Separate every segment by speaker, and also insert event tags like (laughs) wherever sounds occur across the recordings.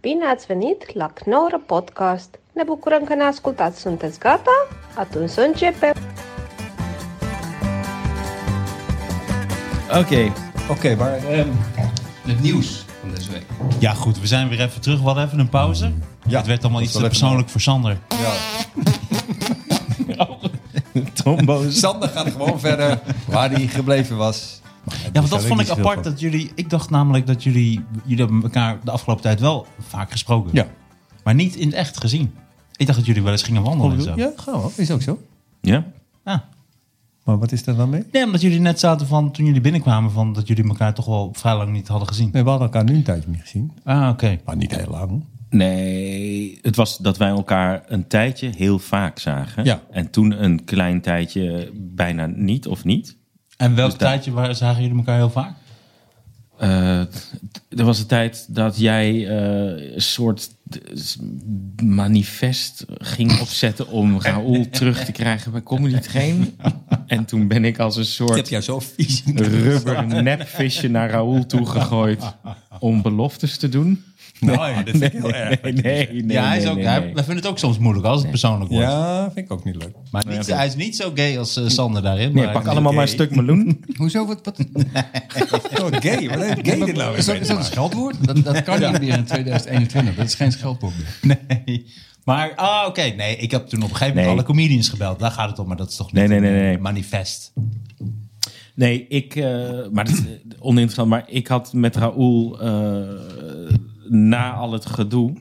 Speaker 1: Bine ați venit la Knorr Podcast! Ne bucurăm că ne ascultați! Sunteți gata? Atunci să începem!
Speaker 2: Oké.
Speaker 3: Oké, maar ehm,
Speaker 4: Het nieuws van deze week.
Speaker 2: Ja, goed. We zijn weer even terug. We hadden even een pauze.
Speaker 3: Ja,
Speaker 2: het werd allemaal
Speaker 3: dat
Speaker 2: iets
Speaker 3: was
Speaker 2: te
Speaker 3: wel
Speaker 2: persoonlijk voor Sander.
Speaker 3: ja.
Speaker 2: Tromboos.
Speaker 3: Sander gaat gewoon verder waar hij gebleven was.
Speaker 2: Ja, want dat vond ik apart. Dat jullie, ik dacht namelijk dat jullie, jullie hebben elkaar de afgelopen tijd wel vaak gesproken.
Speaker 3: Ja.
Speaker 2: Maar niet in het echt gezien. Ik dacht dat jullie wel eens gingen wandelen en zo.
Speaker 3: Ja, gewoon. Is ook zo.
Speaker 5: Ja?
Speaker 2: Ja.
Speaker 3: Maar wat is er dan mee?
Speaker 2: Nee, omdat jullie net zaten van, toen jullie binnenkwamen, van dat jullie elkaar toch wel vrij lang niet hadden gezien.
Speaker 3: Nee, we hadden elkaar nu een tijdje niet gezien.
Speaker 2: Ah, oké.
Speaker 3: Maar niet heel lang.
Speaker 5: Nee, het was dat wij elkaar een tijdje heel vaak zagen.
Speaker 3: Ja.
Speaker 5: En toen een klein tijdje bijna niet of niet.
Speaker 2: En welk
Speaker 5: Dus daar-
Speaker 2: tijdje waar, zagen jullie elkaar heel vaak?
Speaker 5: Eh, t- er was een tijd dat jij eh, een soort eh, s- manifest ging opzetten om (laughs) Raoul terug te krijgen bij Comedy Train. En toen ben ik als een soort
Speaker 3: jou zo vies.
Speaker 5: rubber nepvisje naar Raoul toegegooid om beloftes te doen.
Speaker 3: Nee, dat vind ik heel erg.
Speaker 5: Nee, nee, nee.
Speaker 2: ja, hij, is ook,
Speaker 5: nee,
Speaker 2: hij,
Speaker 5: nee.
Speaker 2: wij vinden het ook soms moeilijk als het persoonlijk wordt.
Speaker 3: Ja, vind ik ook niet leuk.
Speaker 2: Maar niet, hij is niet zo gay als eh, Sander daarin.
Speaker 5: Nee,
Speaker 2: maar-
Speaker 5: pak allemaal maar een stuk meloen.
Speaker 4: Hoezo? Wat, wat,
Speaker 3: Oh, gay. Wat heeft gay
Speaker 4: is,
Speaker 3: dit nou weer
Speaker 4: dat,
Speaker 3: mee
Speaker 4: is
Speaker 3: te
Speaker 4: dat een
Speaker 3: maken?
Speaker 4: scheldwoord? Dat, dat kan niet meer in 2021. Dat is geen scheldwoord meer.
Speaker 2: Nee. (laughs) Maar, ah, oké. Nee, ik heb toen op een gegeven moment
Speaker 5: Nee.
Speaker 2: alle comedians gebeld. Daar gaat het om, maar dat is toch niet
Speaker 5: Nee, nee, nee,
Speaker 2: een, eh,
Speaker 5: nee.
Speaker 2: manifest.
Speaker 5: (laughs) Nee, ik, eh, maar dat is eh, oninteressant. Maar ik had met Raoul eh, na al het gedoe.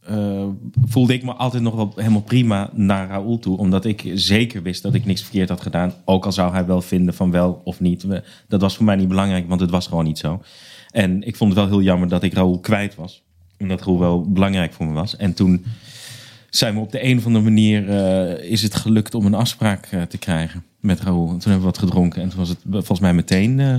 Speaker 5: eh, voelde ik me altijd nog wel helemaal prima naar Raoul toe. Omdat ik zeker wist dat ik niks verkeerd had gedaan. Ook al zou hij wel vinden van wel of niet. We- Dat was voor mij niet belangrijk, want het was gewoon niet zo. En ik vond het wel heel jammer dat ik Raoul kwijt was. Omdat Raoul wel belangrijk voor me was. En toen zijn we op de een of andere manier eh, is het gelukt om een afspraak eh, te krijgen met Raoul. En toen hebben we wat gedronken en toen was het eh, volgens mij meteen eh,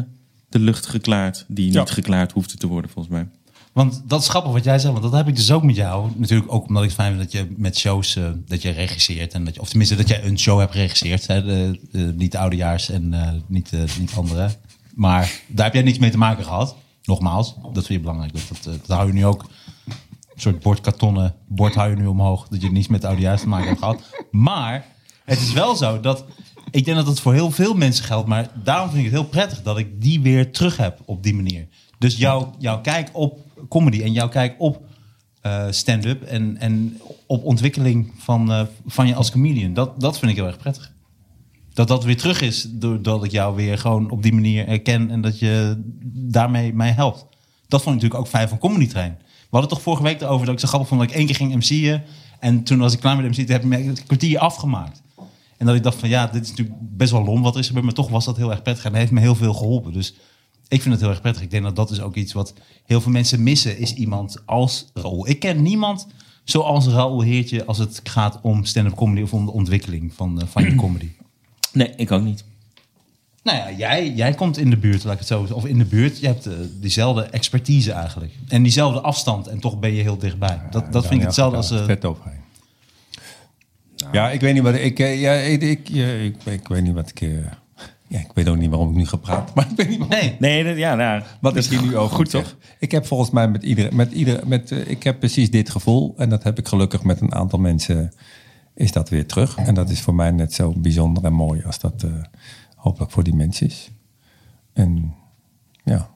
Speaker 5: de lucht geklaard die
Speaker 3: Ja.
Speaker 5: niet geklaard hoefde te worden volgens mij.
Speaker 2: Want dat is grappig wat jij zegt, want dat heb ik dus ook met jou. Natuurlijk ook omdat ik het fijn vind dat je met shows, eh, dat je regisseert. En dat je, of tenminste, dat jij een show hebt geregisseerd. Hè, de, de- niet de oudejaars en eh, niet, eh, niet andere. Maar daar heb jij niks mee te maken gehad. Nogmaals, dat vind je belangrijk. Dat, dat, eh, dat hou je nu ook, een soort bordkartonnen bord hou je nu omhoog. Dat je niets met de oudejaars te maken hebt gehad. Maar het is wel zo dat, ik denk dat dat voor heel veel mensen geldt. Maar daarom vind ik het heel prettig dat ik die weer terug heb op die manier. Dus jouw, jouw kijk op comedy en jouw kijk op eh, stand-up en, en op ontwikkeling van, eh, van je als comedian. Dat, dat vind ik heel erg prettig. Dat dat weer terug is doordat ik jou weer gewoon op die manier herken en dat je daarmee mij helpt. Dat vond ik natuurlijk ook fijn van Comedy Train. We hadden toch vorige week erover dat ik zo grappig vond dat ik één keer ging MC'en. En toen was ik klaar met MC'en, toen heb ik me het kwartier afgemaakt. En dat ik dacht van ja, dit is natuurlijk best wel lom wat er is gebeurd. Maar toch was dat heel erg prettig en dat heeft me heel veel geholpen. Dus ik vind het heel erg prettig. Ik denk dat dat is ook iets wat heel veel mensen missen. Is iemand als Raoul. Ik ken niemand zoals Raoul Heertje als het gaat om stand-up comedy of om de ontwikkeling van, eh, van je comedy.
Speaker 5: Nee, ik ook niet.
Speaker 2: Nou ja, jij, jij komt in de buurt, laat ik het zo Of in de buurt, je hebt eh, diezelfde expertise eigenlijk. En diezelfde afstand en toch ben je heel dichtbij. Dat, dat vind ik hetzelfde als... eh,
Speaker 3: Vet over Nou. Ja, ik weet niet wat ik... eh, Ja, ik, ik, eh, ik, ik weet niet wat ik... eh, Ja, ik weet ook niet waarom ik nu gepraat. (laughs) Maar ik weet niet waarom.
Speaker 2: nee,
Speaker 5: Nee, dat- ja, nou,
Speaker 3: Wat is hier nu over?
Speaker 5: Goed
Speaker 3: te
Speaker 5: toch?
Speaker 3: zeggen? Ik heb volgens mij met iedere, met iedere, met, eh, ik heb precies dit gevoel en dat heb ik gelukkig met een aantal mensen eh, is dat weer terug en dat is voor mij net zo bijzonder en mooi als dat eh, hopelijk voor die mensen is. En ja,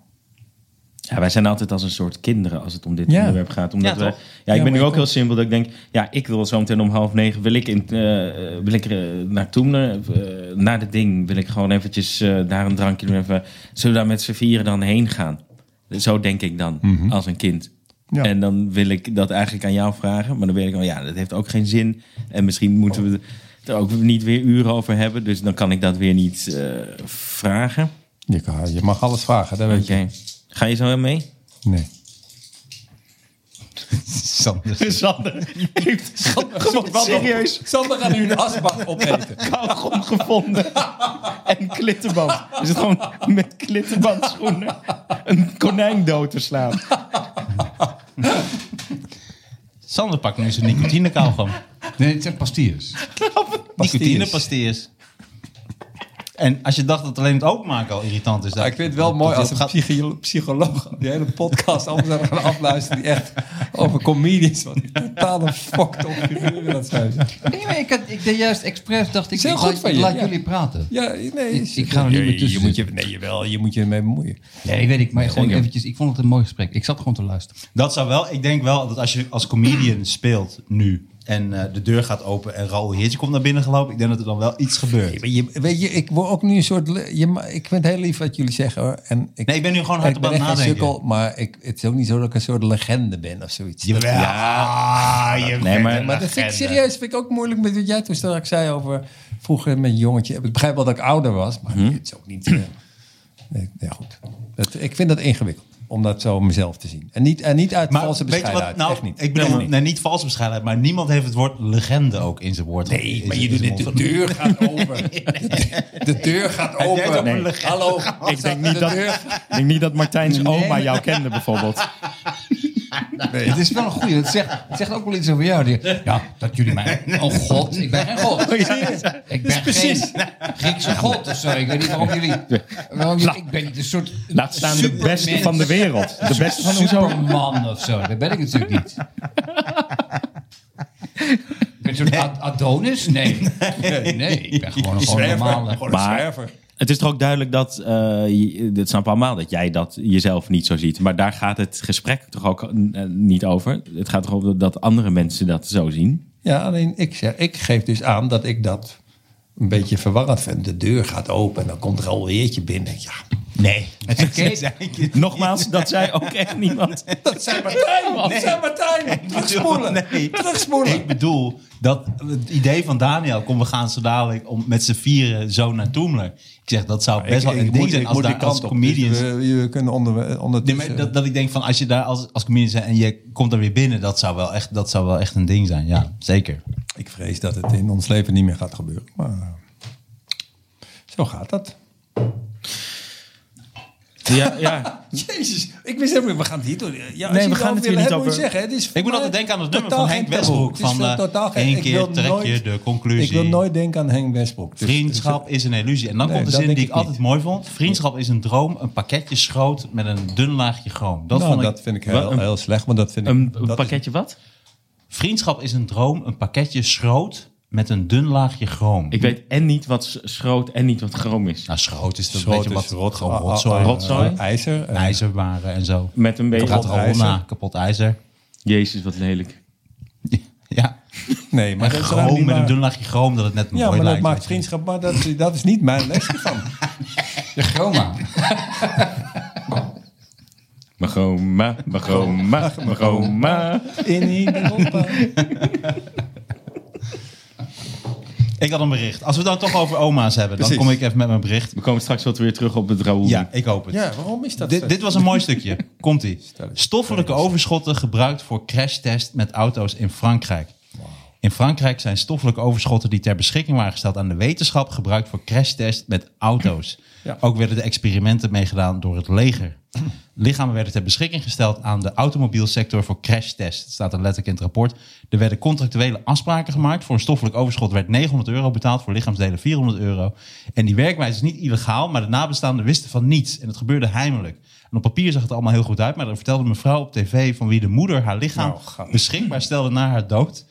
Speaker 5: Ja, wij zijn altijd als een soort kinderen als het om dit
Speaker 3: Ja.
Speaker 5: onderwerp gaat. Omdat
Speaker 2: Ja,
Speaker 5: we, ja,
Speaker 2: toch?
Speaker 5: ik
Speaker 3: Ja,
Speaker 5: ben
Speaker 3: maar
Speaker 5: nu
Speaker 3: je
Speaker 5: ook heel simpel dat ik denk, ja, ik wil zo meteen om half negen, wil ik, in, eh, eh, wil ik eh, naar Toemler, eh, naar het ding, wil ik gewoon eventjes eh, daar een drankje doen. Even, zullen we daar met z'n vieren dan heen gaan? Zo denk ik dan, als een kind.
Speaker 3: Mhm. Ja.
Speaker 5: En dan wil ik dat eigenlijk aan jou vragen, maar dan weet ik al, ja, dat heeft ook geen zin. En misschien moeten we het er ook niet weer uren over hebben, dus dan kan ik dat weer niet eh, vragen.
Speaker 3: je, kan, je mag alles vragen, dat weet
Speaker 5: Oké, ga je zo mee?
Speaker 3: je. Nee.
Speaker 2: (laughs) Sander.
Speaker 5: Sander heeft gewoon serieus
Speaker 3: Sander gaat nu (laughs) een asbak opeten.
Speaker 5: kauwgom gevonden. En klittenband. Is het gewoon met klittenbandschoenen een konijn dood te slaan.
Speaker 2: Sander pakt nu zijn nicotine
Speaker 3: (laughs)
Speaker 2: kauwgom.
Speaker 4: Nee, het zijn pastilles.
Speaker 2: Nicotine pasteers. En als je dacht dat alleen het openmaken al irritant is.
Speaker 3: Ja,
Speaker 2: dat-
Speaker 3: Ah, ik vind het wel
Speaker 2: dat-
Speaker 3: mooi
Speaker 2: dat
Speaker 3: als
Speaker 2: het
Speaker 3: een
Speaker 2: gaat-
Speaker 3: psychio- psycholoog die hele podcast anders aan gaan afluisteren. Die echt over comedians. Wat een totale fucked op figuur in dat zijn.
Speaker 4: Nee, maar ik, had, ik deed juist expres, dacht ik,
Speaker 3: Is heel
Speaker 4: ik
Speaker 3: goed
Speaker 4: laat,
Speaker 3: van
Speaker 4: ik
Speaker 3: je,
Speaker 4: laat
Speaker 3: ja.
Speaker 4: jullie praten.
Speaker 3: Ja, nee.
Speaker 4: Ik-
Speaker 3: is-
Speaker 4: ik ga er niet
Speaker 3: je-
Speaker 4: meer tussen
Speaker 3: Je moet je, nee, jawel, je moet je ermee bemoeien.
Speaker 4: Nee, weet ik, maar gewoon
Speaker 3: zeker.
Speaker 4: eventjes, ik vond het een mooi gesprek. Ik zat gewoon te luisteren.
Speaker 2: Dat zou wel, ik denk wel dat als je als comedian speelt nu en eh, de deur gaat open en Raoul Heertje komt naar binnen gelopen, ik denk dat er dan wel iets gebeurt.
Speaker 3: Je, weet je, ik word ook nu een soort... le- Je, ma- ik vind heel lief wat jullie zeggen hoor. En ik,
Speaker 2: Nee, ik ben nu gewoon
Speaker 3: en
Speaker 2: hard
Speaker 3: ik
Speaker 2: op aan
Speaker 3: ben
Speaker 2: het
Speaker 3: echt geen
Speaker 2: nadenken.
Speaker 3: sukkel, maar ik, het is ook niet zo dat ik een soort legende ben of zoiets.
Speaker 2: Jawel. Ja, Ah, je bent
Speaker 5: maar-
Speaker 2: een
Speaker 3: Maar dat vind ik
Speaker 2: legende.
Speaker 3: serieus vind ik ook moeilijk met wat jij toen straks zei over vroeger met een jongetje. Ik begrijp wel dat ik ouder was, maar
Speaker 2: Hm?
Speaker 3: het is ook niet. eh, nee, ja, goed. Dat, ik vind dat ingewikkeld om dat zo mezelf te zien. En niet, en niet uit
Speaker 2: Maar
Speaker 3: valse
Speaker 2: weet je
Speaker 3: bescheidenheid.
Speaker 2: wat, nou,
Speaker 3: echt niet.
Speaker 2: Ik bedoel,
Speaker 3: Helemaal
Speaker 2: nee, niet. valse bescheidenheid, maar niemand heeft het woord legende ook in zijn woord.
Speaker 3: Nee, maar
Speaker 2: in-
Speaker 3: je
Speaker 2: in
Speaker 3: doet
Speaker 2: zijn
Speaker 3: dit. De
Speaker 2: (laughs) mond.
Speaker 3: deur gaat
Speaker 2: (laughs)
Speaker 3: open. De deur gaat
Speaker 2: Hij
Speaker 3: open.
Speaker 2: denkt dat we
Speaker 3: Nee.
Speaker 2: legende-
Speaker 3: Hallo.
Speaker 5: Ik denk niet
Speaker 3: de
Speaker 5: dat-
Speaker 3: deur-
Speaker 5: Ik denk niet dat Martijn's oma jou kende bijvoorbeeld.
Speaker 4: Het is wel een goeie. Het zegt, het zegt ook wel iets over jou. Die- Ja, dat jullie mij... Oh god, ik ben geen god. Ik ben
Speaker 5: Oh, precies.
Speaker 4: geen Griekse god of zo. Ik weet niet waarom jullie... Waarom jullie ik ben niet een soort...
Speaker 5: Laat staan de
Speaker 4: supermens.
Speaker 5: beste van de wereld. De beste van hoezo?
Speaker 4: Superman of zo. Dat ben ik natuurlijk niet. Ik ben zo'n Ad- Adonis?
Speaker 3: (laughs)
Speaker 4: Nee. nee. ik ben gewoon een gewoon
Speaker 3: Zwerver.
Speaker 4: normale...
Speaker 3: Gewoon een
Speaker 5: Maar-
Speaker 3: zwerver.
Speaker 5: Het is toch ook duidelijk dat, eh je- dat snap allemaal, dat jij dat jezelf niet zo ziet. Maar daar gaat het gesprek toch ook eh, niet over. Het gaat toch over dat andere mensen dat zo zien.
Speaker 3: Ja, alleen ik, zeg, ik geef dus aan dat ik dat een beetje verwarrend vind. De deur gaat open en dan komt er alweertje binnen. Ja,
Speaker 2: Nee. (laughs)
Speaker 4: Oké.
Speaker 5: Nogmaals, dat zei ook echt niemand.
Speaker 3: dat zijn Martijn. Dat zijn Martijn. Terugspoelen.
Speaker 2: (laughs) Nee.
Speaker 3: Terugspoelen.
Speaker 2: Ik bedoel, dat, het idee van Daniel, kom we gaan zo dadelijk om, met z'n vieren zo naar Toemler. Ik zeg, dat zou best wel een ding zijn als, daar, als comedians...
Speaker 3: we, we kunnen eh, onder,
Speaker 2: Nee,
Speaker 3: ondertussen...
Speaker 2: maar dat, dat ik denk van, als je daar als, als comedian bent en je komt er weer binnen, dat zou, wel echt, dat zou wel echt een ding zijn. Ja, zeker.
Speaker 3: Ik vrees dat het in ons leven niet meer gaat gebeuren. Maar eh, zo gaat dat.
Speaker 5: Ja, ja.
Speaker 3: (laughs) Jezus, ik wist helemaal niet, we gaan het hier doen. Ja,
Speaker 5: Nee, we gaan het hier niet over-
Speaker 3: Het is
Speaker 2: Ik moet altijd denken aan het nummer van Henk Westbroek. Van eh, één keer trek je de conclusie.
Speaker 3: Ik wil nooit denken aan Henk Westbroek. Dus-
Speaker 2: Vriendschap is een illusie. En dan
Speaker 3: Nee,
Speaker 2: komt de
Speaker 3: dat
Speaker 2: zin
Speaker 3: denk
Speaker 2: die ik
Speaker 3: ik niet.
Speaker 2: altijd mooi vond. Vriendschap is een droom, een pakketje schroot met een dun laagje chroom. Dat
Speaker 3: Nou,
Speaker 2: vond ik.
Speaker 3: dat vind ik
Speaker 5: Wat
Speaker 3: heel,
Speaker 5: een-
Speaker 3: heel slecht, maar dat vind ik...
Speaker 5: Een
Speaker 3: dat is-
Speaker 5: pakketje wat?
Speaker 2: Vriendschap is een droom, een pakketje schroot met een dun laagje chroom.
Speaker 5: Ik weet en niet wat s- schroot en niet wat groom is.
Speaker 2: Nou, schroot is dat
Speaker 3: Schroot
Speaker 2: een beetje
Speaker 3: is
Speaker 2: wat
Speaker 3: rot-
Speaker 2: gewoon
Speaker 3: ah, ah,
Speaker 2: rotzooi.
Speaker 3: ah,
Speaker 5: Rotzooi?
Speaker 3: eh, ijzer. eh,
Speaker 2: IJzerwaren en zo.
Speaker 5: Met een
Speaker 2: Dat
Speaker 5: beetje...
Speaker 2: gaat
Speaker 3: Kapot
Speaker 2: er al
Speaker 3: ijzer.
Speaker 2: na. Kapot ijzer. (laughs)
Speaker 5: Jezus, wat lelijk.
Speaker 2: Ja.
Speaker 3: Nee, maar dat is nou
Speaker 2: Chroom
Speaker 3: niet
Speaker 2: met een
Speaker 3: waar.
Speaker 2: dun laagje chroom dat het net mooi
Speaker 3: Ja, maar
Speaker 2: lijkt.
Speaker 3: dat maakt
Speaker 2: weet je.
Speaker 3: vriendschap, maar dat, dat is niet mijn les ervan.
Speaker 4: De chroma.
Speaker 5: Magroma, magroma, magroma.
Speaker 3: (laughs) In Europa.
Speaker 2: Ik had een bericht. Als we het dan toch over oma's hebben, dan
Speaker 3: Precies.
Speaker 2: kom ik even met mijn bericht.
Speaker 5: We komen straks wel weer terug op het Raoul.
Speaker 2: Ja, ik hoop het.
Speaker 3: Ja, waarom is dat
Speaker 2: Dit, dit was een mooi stukje. Komt ie.
Speaker 3: (laughs) Stel eens.
Speaker 2: Stoffelijke overschotten gebruikt voor crashtest met auto's in Frankrijk. In Frankrijk zijn stoffelijke overschotten die ter beschikking waren gesteld aan de wetenschap gebruikt voor crashtest met auto's.
Speaker 3: Ja.
Speaker 2: Ook werden de experimenten meegedaan door het
Speaker 3: (clears throat)
Speaker 2: leger. Lichamen werden ter beschikking gesteld aan de automobielsector voor crashtest. Staat er letterlijk in het rapport. Er werden contractuele afspraken gemaakt. Voor een stoffelijk overschot werd 900 euro betaald. Voor lichaamsdelen 400 euro. En die werkwijze is niet illegaal, maar de nabestaanden wisten van niets. En het gebeurde heimelijk. En op papier zag het allemaal heel goed uit. Maar er vertelde een mevrouw op tv van wie de moeder haar lichaam
Speaker 3: Nou, ga-
Speaker 2: beschikbaar stelde na haar dood.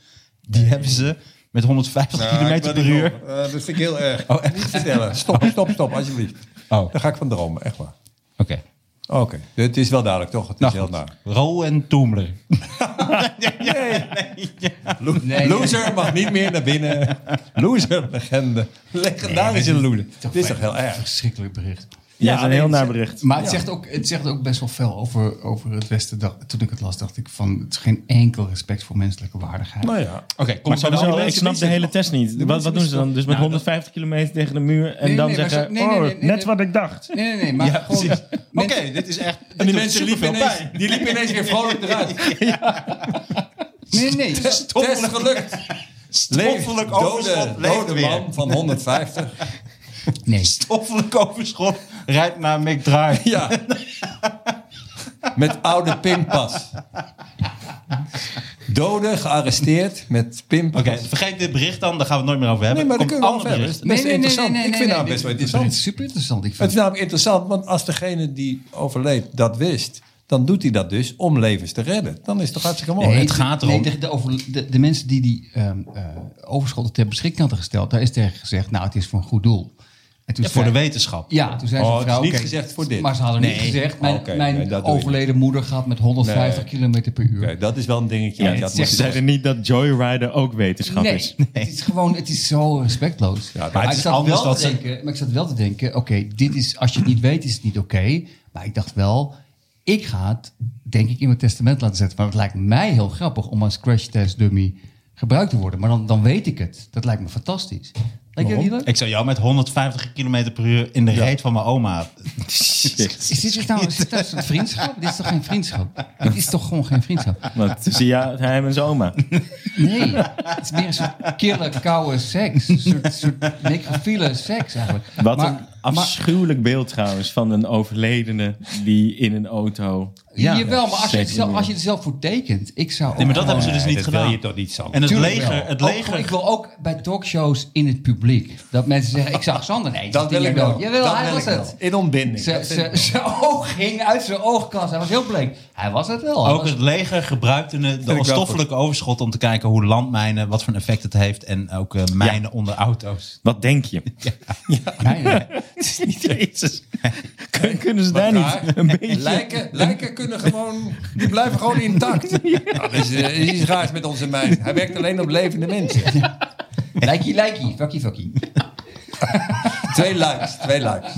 Speaker 2: Die hebben ze met 150 km per uur.
Speaker 3: eh, dat vind ik heel erg. Oh, niet vertellen. Stop, stop, stop, alsjeblieft.
Speaker 2: Oh.
Speaker 3: Daar ga ik van dromen, echt waar.
Speaker 2: Oké.
Speaker 3: Oké, het is wel duidelijk, toch? Het is heel
Speaker 2: Nou,
Speaker 3: naar.
Speaker 2: Rol en Toemler.
Speaker 4: Nee,
Speaker 3: (laughs) Loser mag niet meer naar binnen. Loser, legende. Legendarische loser. Dit is toch heel erg?
Speaker 6: Verschrikkelijk bericht.
Speaker 5: Ja, dat is een heel naar bericht.
Speaker 6: Maar het, zegt ook, het zegt ook best wel veel over, over het Westen. Dacht- toen ik het las, dacht ik van... het is geen enkel respect voor menselijke waardigheid.
Speaker 3: Nou ja.
Speaker 2: Oké, kom
Speaker 5: Maar
Speaker 2: zo
Speaker 5: sowieso,
Speaker 2: wel.
Speaker 5: ik snap de hele test niet. Wat, wat doen ze dan? Dus met 150 kilometer tegen de muur en
Speaker 6: Nou, Nee,
Speaker 5: dan
Speaker 6: nee, maar
Speaker 5: zeggen...
Speaker 6: ze- nee, nee,
Speaker 5: oh,
Speaker 6: nee, nee,
Speaker 5: net
Speaker 6: nee.
Speaker 5: wat ik dacht.
Speaker 6: Nee, nee, nee, maar gewoon...
Speaker 2: Oké,
Speaker 6: mensen-
Speaker 2: dit is echt. (laughs)
Speaker 3: En die mensen liepen ineens, die liepen ineens weer vrolijk eruit.
Speaker 6: Nee, nee, nee.
Speaker 3: Test gelukt.
Speaker 2: Stoffelijk
Speaker 3: dode,
Speaker 2: overschot. Leeft
Speaker 3: dode
Speaker 2: weer.
Speaker 3: man van 150.
Speaker 2: Stoffelijk overschot. Rijdt naar
Speaker 3: (laughs)
Speaker 2: McDrive.
Speaker 3: (laughs) Ja. Met oude pinpas. Dode, gearresteerd met pinpas.
Speaker 2: Oké, vergeet dit bericht dan. Daar gaan we het nooit meer over hebben.
Speaker 3: Nee, maar dat
Speaker 2: Komt
Speaker 3: kunnen we wel
Speaker 2: ander
Speaker 3: verder.
Speaker 2: bericht.
Speaker 3: Dat is interessant. ik vind
Speaker 6: nee,
Speaker 3: dat
Speaker 6: nee,
Speaker 3: best wel
Speaker 6: dit- dit
Speaker 3: interessant.
Speaker 6: is super interessant. Ik
Speaker 3: Het
Speaker 6: vind
Speaker 3: is namelijk interessant, want als degene die overleed dat wist... dan doet hij dat dus om levens te redden. Dan is Oh, het toch hartstikke mooi.
Speaker 2: het gaat erom-
Speaker 6: Nee, tegen de, over, de, de mensen die die ehm, eh, overschotten ter beschikking hadden gesteld, daar is tegen gezegd, nou, het is voor een goed doel. En toen
Speaker 2: Ja, voor de
Speaker 6: zei-
Speaker 2: wetenschap.
Speaker 6: Ja, toen zei
Speaker 3: Oh,
Speaker 6: ze
Speaker 3: het is
Speaker 6: vrouw,
Speaker 3: niet
Speaker 6: oké,
Speaker 3: gezegd voor dit. Oh,
Speaker 6: Maar ze hadden niet
Speaker 2: Nee.
Speaker 6: gezegd, mijn,
Speaker 3: Oké,
Speaker 6: mijn
Speaker 3: nee, dat doe je
Speaker 6: overleden moeder gaat met 150
Speaker 3: Nee.
Speaker 6: km per uur.
Speaker 3: Oké, dat is wel een dingetje. want je had
Speaker 6: het zegt
Speaker 5: Ze
Speaker 3: moeten-
Speaker 5: zeiden niet dat Joyrider ook wetenschap
Speaker 6: (laughs) Nee,
Speaker 5: is.
Speaker 6: het is gewoon, het is zo respectloos.
Speaker 3: maar het
Speaker 6: maar,
Speaker 2: is
Speaker 6: ik zat
Speaker 2: anders
Speaker 6: wel te
Speaker 2: dat ze-
Speaker 6: denken, maar ik zat wel te denken, oké, dit is, als je het niet weet, is het niet oké. Maar ik dacht wel, ik ga het, denk ik, in mijn testament laten zetten. Maar het lijkt mij heel grappig om als crash test dummy gebruikt te worden. Maar dan, dan weet ik het. Dat lijkt me fantastisch. Lijkt je dat niet leuk?
Speaker 2: Ik zou jou met 150 km per uur in de reet van mijn oma.
Speaker 6: Is dit echt nou, is dit nou een soort vriendschap? Dit is toch geen vriendschap? Dit is toch gewoon geen vriendschap? (laughs)
Speaker 5: Want tussen jou, hij en mijn oma.
Speaker 6: Nee, het is meer een soort kille, koude seks. Een soort, soort necrofiele seks eigenlijk.
Speaker 5: Wat
Speaker 6: Maar-
Speaker 5: een afschuwelijk beeld trouwens van een overledene die in een auto...
Speaker 6: Ja, Jawel, maar als je, het
Speaker 5: zeker.
Speaker 6: zelf, als je er zelf voor tekent, ik zou.
Speaker 2: Nee, maar dat
Speaker 6: ook-
Speaker 2: hebben ze dus
Speaker 3: Nee,
Speaker 2: niet
Speaker 3: dat wil
Speaker 2: gedaan.
Speaker 3: je toch niet, Sander?
Speaker 2: En het
Speaker 6: Tuurlijk wel.
Speaker 2: leger, het
Speaker 6: Ook-
Speaker 2: leger
Speaker 6: ik wil ook bij talkshows in het publiek dat mensen zeggen: Ik zag Sander nee,
Speaker 3: Dat wil ik wel.
Speaker 6: wel. Jawel,
Speaker 3: Dat
Speaker 6: hij
Speaker 3: wil
Speaker 6: was
Speaker 3: ik wel.
Speaker 6: het.
Speaker 3: In ontbinding.
Speaker 6: Ze-
Speaker 3: Dat vind
Speaker 6: ze-
Speaker 3: ik
Speaker 6: Zijn oog ging uit zijn oogkast. Hij was heel bleek. Hij was het wel. Hij
Speaker 2: Ook
Speaker 6: was-
Speaker 2: het leger gebruikte de, de stoffelijke overschot om te kijken hoe landmijnen, wat voor een effect het heeft. En ook eh, mijnen onder auto's.
Speaker 5: Wat denk
Speaker 6: (laughs)
Speaker 5: je?
Speaker 6: Nee, nee.
Speaker 5: Jezus. Kun- Kunnen ze daar niet een beetje...
Speaker 3: Lijken, lijken kunnen gewoon, die blijven
Speaker 2: (laughs)
Speaker 3: gewoon intact. Nou, dus, eh, er is iets raars met onze mijn. Hij werkt alleen op levende mensen.
Speaker 6: Lijkie, lijkie, fakkie, fakkie.
Speaker 3: Twee likes, twee likes.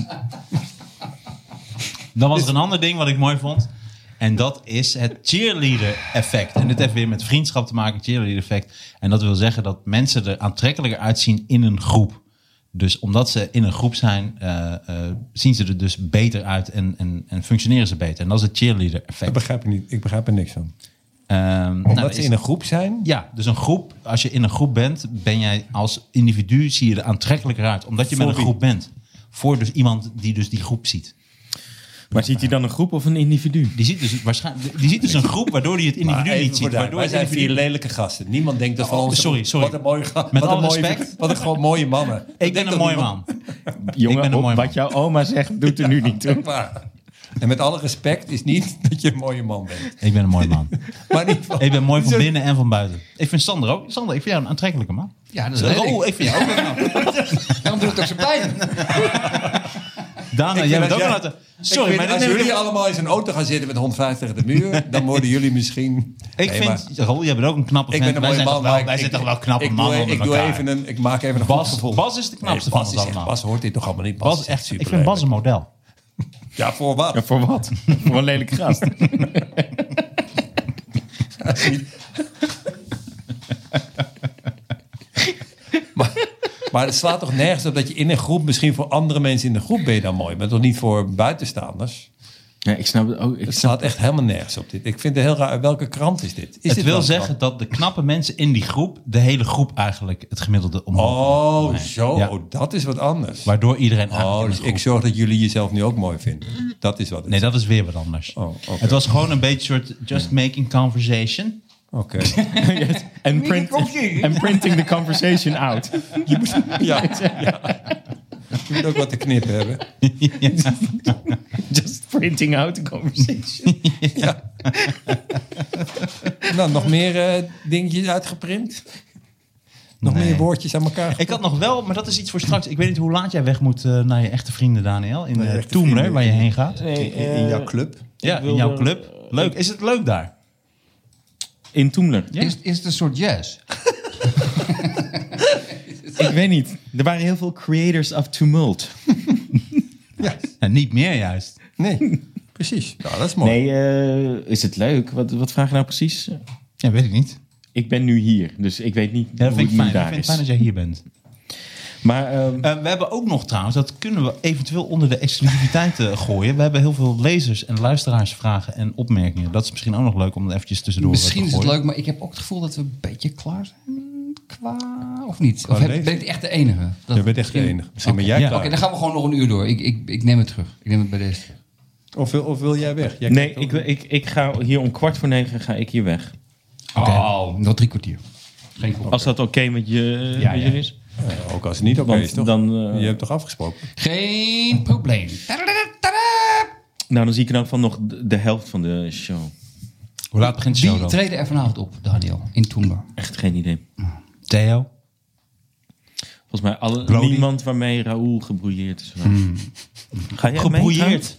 Speaker 2: Dan was er een ander ding wat ik mooi vond. En dat is het cheerleader effect. En dit heeft weer met vriendschap te maken, cheerleader effect. En dat wil zeggen dat mensen er aantrekkelijker uitzien in een groep. Dus omdat ze in een groep zijn, eh, eh, zien ze er dus beter uit en, en, en functioneren ze beter. En dat is het cheerleader
Speaker 3: Ik
Speaker 2: effect.
Speaker 3: begrijp, er niet, ik begrijp er niks van.
Speaker 2: Ehm, nou,
Speaker 3: Omdat
Speaker 2: dat
Speaker 3: ze
Speaker 2: is-
Speaker 3: in een groep zijn.
Speaker 2: Ja, dus een groep, als je in een groep bent, ben jij als individu zie je er aantrekkelijker uit. Omdat je met een groep bent. Voor dus iemand die dus die groep ziet.
Speaker 5: Maar ziet hij dan een groep of een individu?
Speaker 2: Die ziet dus, waarschijnlijk, die ziet dus een groep waardoor hij het individu niet ziet. Waardoor
Speaker 3: wij
Speaker 2: het
Speaker 3: zijn vier
Speaker 2: individu... Oh,
Speaker 3: lelijke gasten. Niemand denkt dat van ons.
Speaker 2: sorry, sorry.
Speaker 3: Wat een mooie gast.
Speaker 2: Met
Speaker 3: wat
Speaker 2: alle
Speaker 3: een mooie,
Speaker 2: respect.
Speaker 3: Wat een gewoon mooie mannen.
Speaker 2: (laughs) Ik ben een mooie man.
Speaker 5: Jongen,
Speaker 2: ben een
Speaker 5: op-
Speaker 2: mooi man.
Speaker 5: wat jouw oma zegt, doet er nu niet toe.
Speaker 3: Maar- En met alle respect is niet (laughs) dat je een mooie man bent.
Speaker 2: Ik ben een mooie
Speaker 3: (laughs)
Speaker 2: man.
Speaker 3: Maar in ieder geval-
Speaker 2: Ik ben mooi van
Speaker 3: Zo-
Speaker 2: binnen en van buiten. Ik vind Sander ook. Sander, ik vind jou een aantrekkelijke man.
Speaker 6: Ja, dat weet
Speaker 2: Oh,
Speaker 6: ik.
Speaker 2: ik vind jou ook wel knap.
Speaker 6: Daarom doet het ook zo pijn.
Speaker 2: Dana,
Speaker 3: (laughs)
Speaker 2: jij bent ook een
Speaker 3: Ik vind dat jij-
Speaker 2: aantrekkelijke...
Speaker 3: Ik
Speaker 2: Sorry,
Speaker 3: vind,
Speaker 2: maar dat
Speaker 3: als
Speaker 2: neem ik
Speaker 3: jullie
Speaker 2: niet-
Speaker 3: allemaal in zijn auto gaan zitten met 150 tegen de muur, dan worden jullie misschien.
Speaker 2: Ik
Speaker 3: Nee, maar-
Speaker 2: vind... Raoul, jij bent ook een knappe
Speaker 3: ik
Speaker 2: vent.
Speaker 3: ben
Speaker 2: Wij
Speaker 3: een mooie
Speaker 2: zijn
Speaker 3: man.
Speaker 2: toch wel-
Speaker 3: maar
Speaker 2: wij
Speaker 3: ik-
Speaker 2: zijn toch
Speaker 3: ik-
Speaker 2: wel knappe
Speaker 3: ik
Speaker 2: mannen
Speaker 3: doe-
Speaker 2: onder
Speaker 3: ik, doe
Speaker 2: elkaar.
Speaker 3: even een, ik maak even een goed
Speaker 2: Bas,
Speaker 3: gevoel.
Speaker 2: Bas is de knapste
Speaker 3: Nee,
Speaker 2: van
Speaker 3: Bas is
Speaker 2: ons
Speaker 3: echt-
Speaker 2: allemaal.
Speaker 3: Bas hoort dit toch allemaal niet. Bas,
Speaker 2: Bas
Speaker 3: is
Speaker 2: is
Speaker 3: echt super.
Speaker 2: ik vind Bas een model.
Speaker 3: Ja, voor wat?
Speaker 5: Ja, voor wat? (laughs) voor een lelijke gast.
Speaker 3: (laughs) Maar, maar het slaat toch nergens op dat je in een groep, misschien voor andere mensen in de groep ben je dan mooi, maar toch niet voor buitenstaanders.
Speaker 5: (laughs) Ja, ik snap het ook. Ik
Speaker 3: Het slaat echt helemaal nergens op dit. Ik vind het heel raar. Welke krant is dit? Is
Speaker 2: het
Speaker 3: dit
Speaker 2: wil
Speaker 3: wel een
Speaker 2: zeggen dat de knappe mensen in die groep, de hele groep eigenlijk het gemiddelde omhoog.
Speaker 3: krant? Oh, zo.
Speaker 2: Ja.
Speaker 3: Oh, Dat is wat anders.
Speaker 2: Waardoor iedereen eigenlijk in
Speaker 3: Oh,
Speaker 2: de
Speaker 3: dus
Speaker 2: groep-
Speaker 3: ik zorg dat jullie jezelf nu ook mooi vinden. Dat is wat het
Speaker 2: Nee,
Speaker 3: is.
Speaker 2: dat is weer wat anders.
Speaker 3: Oh, oké.
Speaker 2: Het was gewoon een beetje soort just making conversation.
Speaker 3: Oké.
Speaker 2: (laughs)
Speaker 5: En print, en printing the conversation out.
Speaker 3: ja, ja. Je moet ook wat te knippen hebben. (laughs)
Speaker 5: Just (laughs) printing out the conversation.
Speaker 3: Nou, nog meer eh, dingetjes uitgeprint? Nog meer woordjes aan elkaar?
Speaker 2: Ik had nog wel, maar dat is iets voor straks. Ik weet niet hoe laat jij weg moet eh, naar je echte vrienden, Daniel. In
Speaker 3: je
Speaker 2: eh,
Speaker 3: echte
Speaker 2: Toemler,
Speaker 3: vrienden.
Speaker 2: waar je heen gaat.
Speaker 3: in jouw club?
Speaker 2: Ja, in jouw club. Leuk. Is het leuk daar?
Speaker 5: In Toemler.
Speaker 6: Is, is het een soort jazz?
Speaker 5: Ik weet niet. Er waren heel veel creators of tumult.
Speaker 3: Ja.
Speaker 2: Nou, niet meer juist.
Speaker 3: Nee, precies. Nou, dat is mooi.
Speaker 5: Nee, eh, is het leuk? Wat, wat vraag je nou precies?
Speaker 2: Ja, weet ik niet.
Speaker 5: Ik ben nu hier, dus ik weet niet
Speaker 2: Ja, dat
Speaker 5: hoe
Speaker 2: vind
Speaker 5: het
Speaker 2: ik
Speaker 5: nu
Speaker 2: fijn. Ik
Speaker 5: daar
Speaker 2: vind het
Speaker 5: is.
Speaker 2: fijn dat jij hier bent.
Speaker 5: Maar ehm,
Speaker 2: Eh, we hebben ook nog trouwens, dat kunnen we eventueel onder de exclusiviteit eh, gooien. We hebben heel veel lezers en luisteraarsvragen en opmerkingen. Dat is misschien ook nog leuk om er eventjes tussendoor eh,
Speaker 6: Misschien
Speaker 2: te
Speaker 6: is het
Speaker 2: gooien.
Speaker 6: leuk, maar ik heb ook het gevoel dat we een beetje klaar zijn. Qua, of niet? Of heb,
Speaker 3: leven?
Speaker 6: ben ik echt de enige? Dat,
Speaker 3: Je bent echt de
Speaker 6: misschien-
Speaker 3: enige. Misschien ben jij
Speaker 2: Ja.
Speaker 3: klaar.
Speaker 6: Oké, dan gaan we gewoon nog een uur door. Ik, ik, ik neem het terug. Ik neem het bij deze terug.
Speaker 3: Of, wil- of wil jij weg? Jij
Speaker 5: nee,
Speaker 3: kijkt
Speaker 5: ik,
Speaker 3: ook-
Speaker 5: ik, ik ga hier om kwart voor negen ga ik hier weg.
Speaker 6: Oh, nog drie kwartier. Geen probleem.
Speaker 5: Als dat oké met, je,
Speaker 6: Ja,
Speaker 5: met
Speaker 6: ja.
Speaker 5: jullie is.
Speaker 3: Eh, ook als het niet oké
Speaker 5: Want
Speaker 3: is, toch?
Speaker 5: dan, eh,
Speaker 6: Oh.
Speaker 3: Je hebt toch afgesproken?
Speaker 6: Geen probleem. Tadadadada.
Speaker 5: Nou, dan zie ik er dan van nog de, de helft van de show.
Speaker 2: Hoe laat begint de show
Speaker 6: Wie
Speaker 2: dan?
Speaker 6: treden er vanavond op, Daniel, in Toemler?
Speaker 5: Echt geen idee.
Speaker 2: Theo?
Speaker 5: Volgens mij alle,
Speaker 2: Brody.
Speaker 5: niemand waarmee Raoul gebrouilleerd is. Ga jij mee?
Speaker 2: Gebrouilleerd.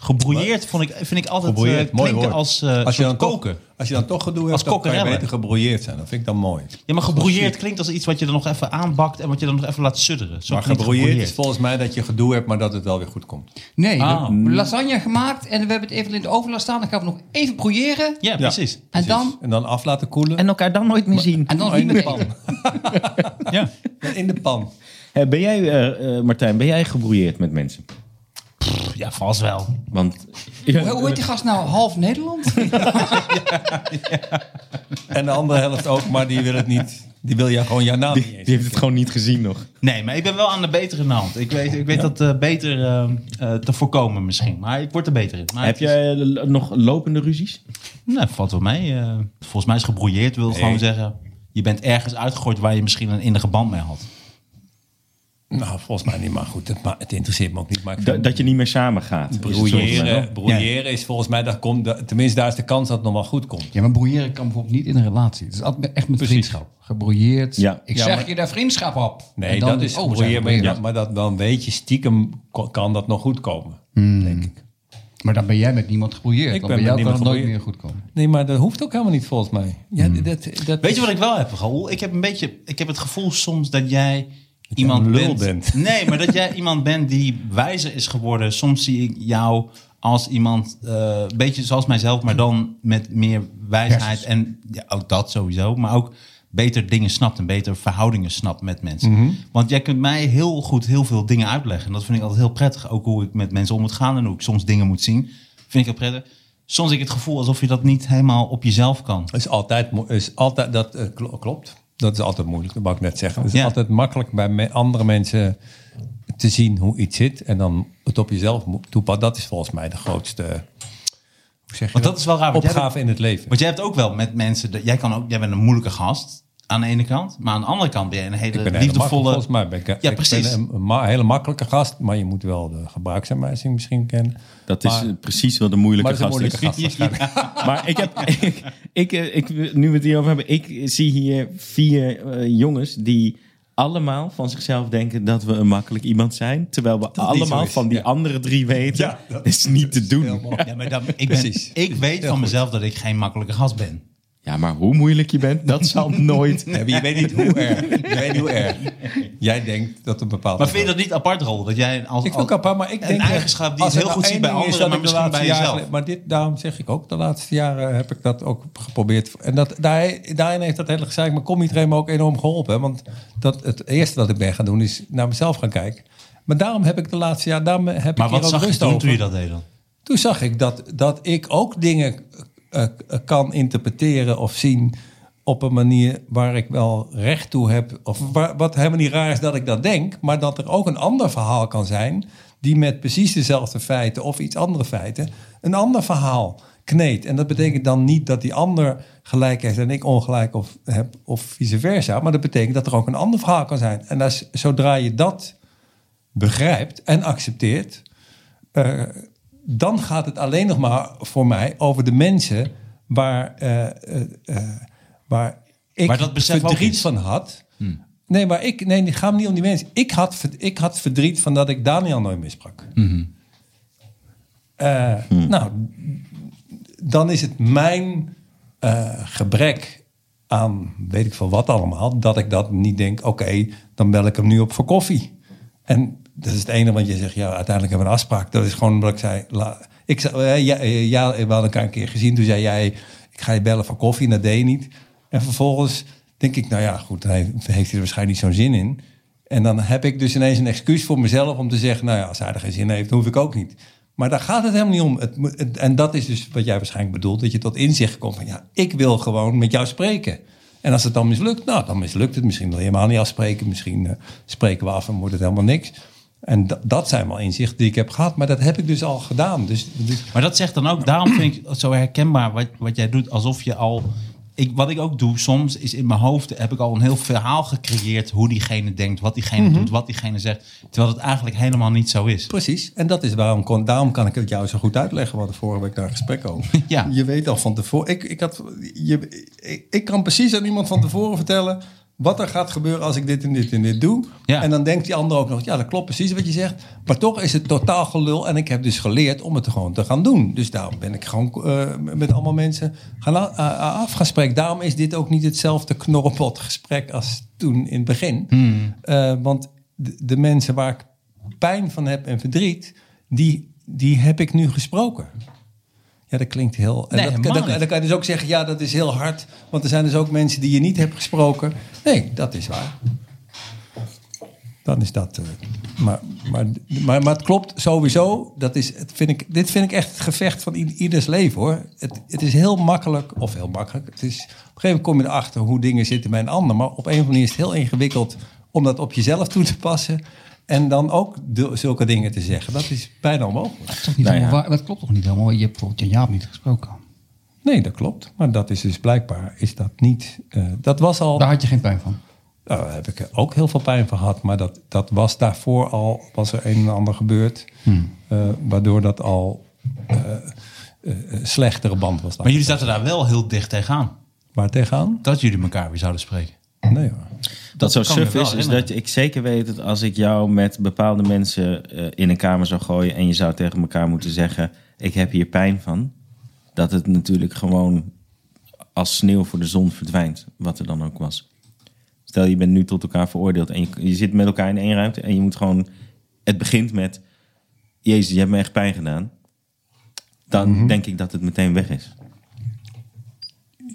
Speaker 2: Gebrouilleerd vond ik, vind ik altijd eh,
Speaker 3: Gebrouilleerd, mooi
Speaker 2: klinken
Speaker 3: woord.
Speaker 2: als, eh,
Speaker 3: als je
Speaker 2: soort
Speaker 3: dan
Speaker 2: koken.
Speaker 3: Toch, als je dan toch gedoe hebt, dan kan je
Speaker 2: kokerellen.
Speaker 3: beter gebrouilleerd zijn. Dat vind ik dan mooi.
Speaker 2: Ja, maar gebrouilleerd klinkt als iets wat je dan nog even aanbakt en wat je dan nog even laat sudderen. Zo
Speaker 3: maar
Speaker 2: klinkt
Speaker 3: gebrouilleerd is volgens mij dat je gedoe hebt, maar dat het wel weer goed komt.
Speaker 6: Nee,
Speaker 2: Ah.
Speaker 6: we- lasagne gemaakt en we hebben het even in de oven laten staan. Dan gaan we nog even broeieren
Speaker 2: Ja, precies.
Speaker 6: en dan,
Speaker 3: En dan af laten koelen.
Speaker 5: En elkaar dan nooit meer zien.
Speaker 6: en dan
Speaker 3: in
Speaker 6: niet
Speaker 3: de
Speaker 6: meer
Speaker 3: pan.
Speaker 6: eten.
Speaker 2: Ja.
Speaker 3: In de pan.
Speaker 5: Hé, ben jij, eh, eh, Martijn, ben jij gebrouilleerd met mensen?
Speaker 2: ja, vast wel.
Speaker 5: Want
Speaker 6: Hoe- Hoe heet die gast nou? Half Nederland?
Speaker 3: En de andere helft ook, maar die wil het niet. Die wil je gewoon jouw naam niet
Speaker 5: die,
Speaker 3: eens.
Speaker 5: die heeft het gewoon niet gezien nog.
Speaker 2: Nee, maar ik ben wel aan de betere hand. Ik weet, ik weet dat eh, beter eh, eh, te voorkomen misschien. Maar ik word er beter in. Maar
Speaker 5: Heb
Speaker 2: het is-
Speaker 5: jij eh, l- nog lopende ruzies?
Speaker 2: Nou, valt wel mee. eh. volgens mij is gebrouilleerd wil gewoon zeggen... je bent ergens uitgegooid waar je misschien een innige band mee had.
Speaker 3: Nou, volgens mij niet, maar goed. Het, ma- het interesseert me ook niet. Maar ik
Speaker 5: Da- dat je niet meer samen gaat.
Speaker 3: Brouilleren, brouilleren is volgens mij, daar komt, de- tenminste daar is de kans dat het nog wel goed komt.
Speaker 6: Ja, maar broeieren kan bijvoorbeeld niet in een relatie. Het is altijd echt met vriendschap. Gebroeieerd.
Speaker 5: Ja.
Speaker 6: Ik
Speaker 3: Ja,
Speaker 6: zeg
Speaker 3: maar-
Speaker 6: je daar vriendschap op.
Speaker 3: Nee,
Speaker 6: En dan
Speaker 3: dat
Speaker 6: dus,
Speaker 3: is
Speaker 6: oh, we zijn
Speaker 3: brouilleren, maar,
Speaker 6: gebroeieerd.
Speaker 3: ja, maar dat, dan weet je stiekem ko- kan dat nog goed komen, denk ik.
Speaker 6: Maar dan ben jij met niemand gebroeieerd.
Speaker 3: Ik ben
Speaker 6: Dan bij
Speaker 3: met
Speaker 6: jou kan het
Speaker 3: niemand
Speaker 6: nooit meer
Speaker 3: gebroeieerd.
Speaker 6: goed komen.
Speaker 3: Nee, maar dat hoeft ook helemaal niet volgens mij. Ja, dat, dat
Speaker 2: Weet je wat ik wel heb, Raoul? Ik heb een beetje, ik heb het gevoel soms dat jij iemand
Speaker 3: een lul
Speaker 2: bent.
Speaker 3: bent.
Speaker 2: (laughs) Nee, maar dat jij iemand bent die wijzer is geworden. Soms zie ik jou als iemand, eh, een beetje zoals mijzelf, maar dan met meer wijsheid en ja, ook dat sowieso, maar ook beter dingen snapt en beter verhoudingen snapt met mensen.
Speaker 3: Mhm.
Speaker 2: Want jij kunt mij heel goed heel veel dingen uitleggen. En dat vind ik altijd heel prettig. Ook hoe ik met mensen om moet gaan en hoe ik soms dingen moet zien. Vind ik heel prettig. Soms heb ik het gevoel alsof je dat niet helemaal op jezelf kan.
Speaker 3: is altijd, mo- is altijd dat eh, klo- klopt. Dat is altijd moeilijk, dat mag ik net zeggen. Het is
Speaker 2: Ja.
Speaker 3: altijd makkelijk bij me- andere mensen te zien hoe iets zit en dan het op jezelf mo- toepassen. Dat is volgens mij de grootste hoe zeg je
Speaker 2: Want dat is wel raar, want jij
Speaker 3: opgave in het leven.
Speaker 2: Want jij hebt ook wel met mensen, dat, jij, kan ook, jij bent een moeilijke gast aan de ene kant, maar aan de andere kant ben je een hele
Speaker 3: Ik ben een hele makkelijke-
Speaker 2: liefdevolle.
Speaker 3: volgens mij ben ik,
Speaker 2: Ja,
Speaker 3: ik
Speaker 2: precies.
Speaker 3: ben een ma- hele makkelijke gast, maar je moet wel de gebruiksaanwijzing misschien kennen.
Speaker 5: Dat is
Speaker 3: Maar-
Speaker 5: eh, precies wel de moeilijke
Speaker 3: Maar dat is een
Speaker 5: gast.
Speaker 3: moeilijke gast waarschijnlijk.
Speaker 5: (laughs) Maar ik heb, ik, ik, eh, ik- nu we het hierover hebben, ik zie hier vier eh, jongens die allemaal van zichzelf denken dat we een makkelijk iemand zijn. Terwijl we
Speaker 3: niet zo
Speaker 5: allemaal
Speaker 3: is,
Speaker 5: van die
Speaker 3: ja.
Speaker 5: andere drie weten,
Speaker 3: Ja,
Speaker 5: dat is niet te doen.
Speaker 2: Ja, maar dan, ik, ben,
Speaker 3: Precies.
Speaker 2: ik weet van mezelf dat ik geen makkelijke gast ben.
Speaker 5: Ja, maar hoe moeilijk je bent, dat
Speaker 3: (laughs)
Speaker 5: zal nooit.
Speaker 3: Nee, maar je weet niet hoe erg. Je weet niet hoe erg. (laughs) Jij denkt dat een bepaald.
Speaker 2: Maar vind je dat niet apart, Rol? Dat jij als,
Speaker 3: Ik vind het ook apart, maar ik
Speaker 2: Een
Speaker 3: denk...
Speaker 2: eigenschap die
Speaker 3: als
Speaker 2: je
Speaker 3: er
Speaker 2: heel
Speaker 3: nou
Speaker 2: goed
Speaker 3: één
Speaker 2: ziet bij
Speaker 3: ding is
Speaker 2: anderen,
Speaker 3: dat
Speaker 2: maar
Speaker 3: ik de
Speaker 2: misschien bij
Speaker 3: laatste jaren-
Speaker 2: jezelf.
Speaker 3: Maar dit, daarom zeg ik ook, de laatste jaren heb ik dat ook geprobeerd. En dat, daar, daarin heeft dat hele gezeik mijn comedy-train me ook enorm geholpen. hè. Want dat, het eerste wat ik ben gaan doen is naar mezelf gaan kijken. Maar daarom heb ik de laatste jaren... Daarom heb
Speaker 2: maar
Speaker 3: ik hier
Speaker 2: wat
Speaker 3: ook
Speaker 2: zag je
Speaker 3: rust
Speaker 2: toen,
Speaker 3: over.
Speaker 2: toen je dat deed dan?
Speaker 3: Toen zag ik dat, dat ik ook dingen eh, eh, kan interpreteren of zien op een manier waar ik wel recht toe heb. Of waar- wat helemaal niet raar is dat ik dat denk, maar dat er ook een ander verhaal kan zijn die met precies dezelfde feiten of iets andere feiten een ander verhaal kneedt. En dat betekent dan niet dat die ander gelijk heeft en ik ongelijk of, heb of vice versa, maar dat betekent dat er ook een ander verhaal kan zijn. En als, zodra je dat begrijpt en accepteert, eh, dan gaat het alleen nog maar voor mij over de mensen waar, eh, eh, eh, waar ik
Speaker 2: Waar dat besef ook Hmm.
Speaker 3: verdriet
Speaker 2: is.
Speaker 3: van had. Nee, maar ik, nee, het gaat me niet om die mensen. Ik had, verd- ik had verdriet van dat ik Daniel nooit missprak.
Speaker 2: Hmm.
Speaker 3: Eh, Nou, dan is het mijn eh, gebrek aan weet ik veel wat allemaal, dat ik dat niet denk, oké, dan bel ik hem nu op voor koffie. En dat is het enige, want je zegt, ja, uiteindelijk hebben we een afspraak. Dat is gewoon wat ik zei. la- ik zei eh, ja, eh, ja, we hadden elkaar een keer gezien. Toen zei jij, ik ga je bellen voor koffie. En dat deed je niet. En vervolgens denk ik, nou ja, goed, hij heeft hij er waarschijnlijk niet zo'n zin in. En dan heb ik dus ineens een excuus voor mezelf om te zeggen, nou ja, als hij er geen zin in heeft, dan hoef ik ook niet. Maar daar gaat het helemaal niet om. Het, moet- het- en dat is dus wat jij waarschijnlijk bedoelt, dat je tot inzicht komt van, ja, ik wil gewoon met jou spreken. En als het dan mislukt, nou, dan mislukt het. Misschien wil je helemaal niet afspreken. Misschien eh, spreken we af en wordt het helemaal niks. En da- dat zijn wel inzichten die ik heb gehad. Maar dat heb ik dus al gedaan. Dus, dus
Speaker 2: Maar dat zegt dan ook, daarom vind ik het zo herkenbaar wat, wat jij doet, alsof je al ik, wat ik ook doe soms, is in mijn hoofd heb ik al een heel verhaal gecreëerd hoe diegene denkt, wat diegene
Speaker 3: Mhm.
Speaker 2: doet, wat diegene zegt. Terwijl het eigenlijk helemaal niet zo is.
Speaker 3: Precies, en dat is waarom, kon, daarom kan ik het jou zo goed uitleggen. We hadden vorige week daar een gesprek over.
Speaker 2: (laughs) Ja.
Speaker 3: Je weet al van tevoren. Ik, ik, had, je, ik, ik kan precies aan iemand van tevoren vertellen wat er gaat gebeuren als ik dit en dit en dit doe.
Speaker 2: Ja.
Speaker 3: En dan denkt die ander ook nog, ja dat klopt precies wat je zegt. Maar toch is het totaal gelul en ik heb dus geleerd om het gewoon te gaan doen. Dus daarom ben ik gewoon eh, met allemaal mensen gaan a- a- afgesprek. Daarom is dit ook niet hetzelfde knorrelpot gesprek als toen in het begin.
Speaker 2: Hmm.
Speaker 3: Eh, want de, de mensen waar ik pijn van heb en verdriet, die, die heb ik nu gesproken. Ja, dat klinkt heel. En
Speaker 2: Nee,
Speaker 3: dat,
Speaker 2: helemaal
Speaker 3: dat-
Speaker 2: niet.
Speaker 3: dan kan je dus ook zeggen, ja, dat is heel hard. Want er zijn dus ook mensen die je niet hebt gesproken. Nee, dat is waar. Dan is dat. eh, maar, maar, maar, maar het klopt sowieso. Dat is, het vind ik, dit vind ik echt het gevecht van i- ieders leven hoor. Het, het is heel makkelijk, of heel makkelijk. Het is, op een gegeven moment kom je erachter hoe dingen zitten bij een ander. Maar op een of andere manier is het heel ingewikkeld om dat op jezelf toe te passen. En dan ook de- zulke dingen te zeggen. Dat is bijna onmogelijk.
Speaker 6: Dat, is toch niet
Speaker 5: Nou ja.
Speaker 6: helemaal waar- dat klopt toch niet helemaal? Je hebt bijvoorbeeld Jan Jaap niet gesproken.
Speaker 3: Nee, dat klopt. Maar dat is dus blijkbaar is dat niet. eh, dat was al.
Speaker 6: Daar had je geen pijn van.
Speaker 3: Nou, daar heb ik ook heel veel pijn van gehad. Maar dat, dat was daarvoor al. Was er een en ander gebeurd.
Speaker 5: Hmm.
Speaker 3: eh, waardoor dat al. eh, eh, een slechtere band was.
Speaker 2: Maar jullie zaten daar wel heel dicht tegenaan.
Speaker 3: Waar tegenaan?
Speaker 2: Dat jullie elkaar weer zouden spreken.
Speaker 3: Nee hoor.
Speaker 5: Dat, zo
Speaker 2: kan ik me
Speaker 5: suf
Speaker 2: wel
Speaker 5: is, is
Speaker 2: herinneren.
Speaker 5: dat ik zeker weet dat als ik jou met bepaalde mensen eh, in een kamer zou gooien en je zou tegen elkaar moeten zeggen: Ik heb hier pijn van, dat het natuurlijk gewoon als sneeuw voor de zon verdwijnt, wat er dan ook was. Stel je bent nu tot elkaar veroordeeld en je, je zit met elkaar in één ruimte en je moet gewoon. Het begint met: Jezus, je hebt me echt pijn gedaan. Dan
Speaker 3: Mhm.
Speaker 5: denk ik dat het meteen weg is.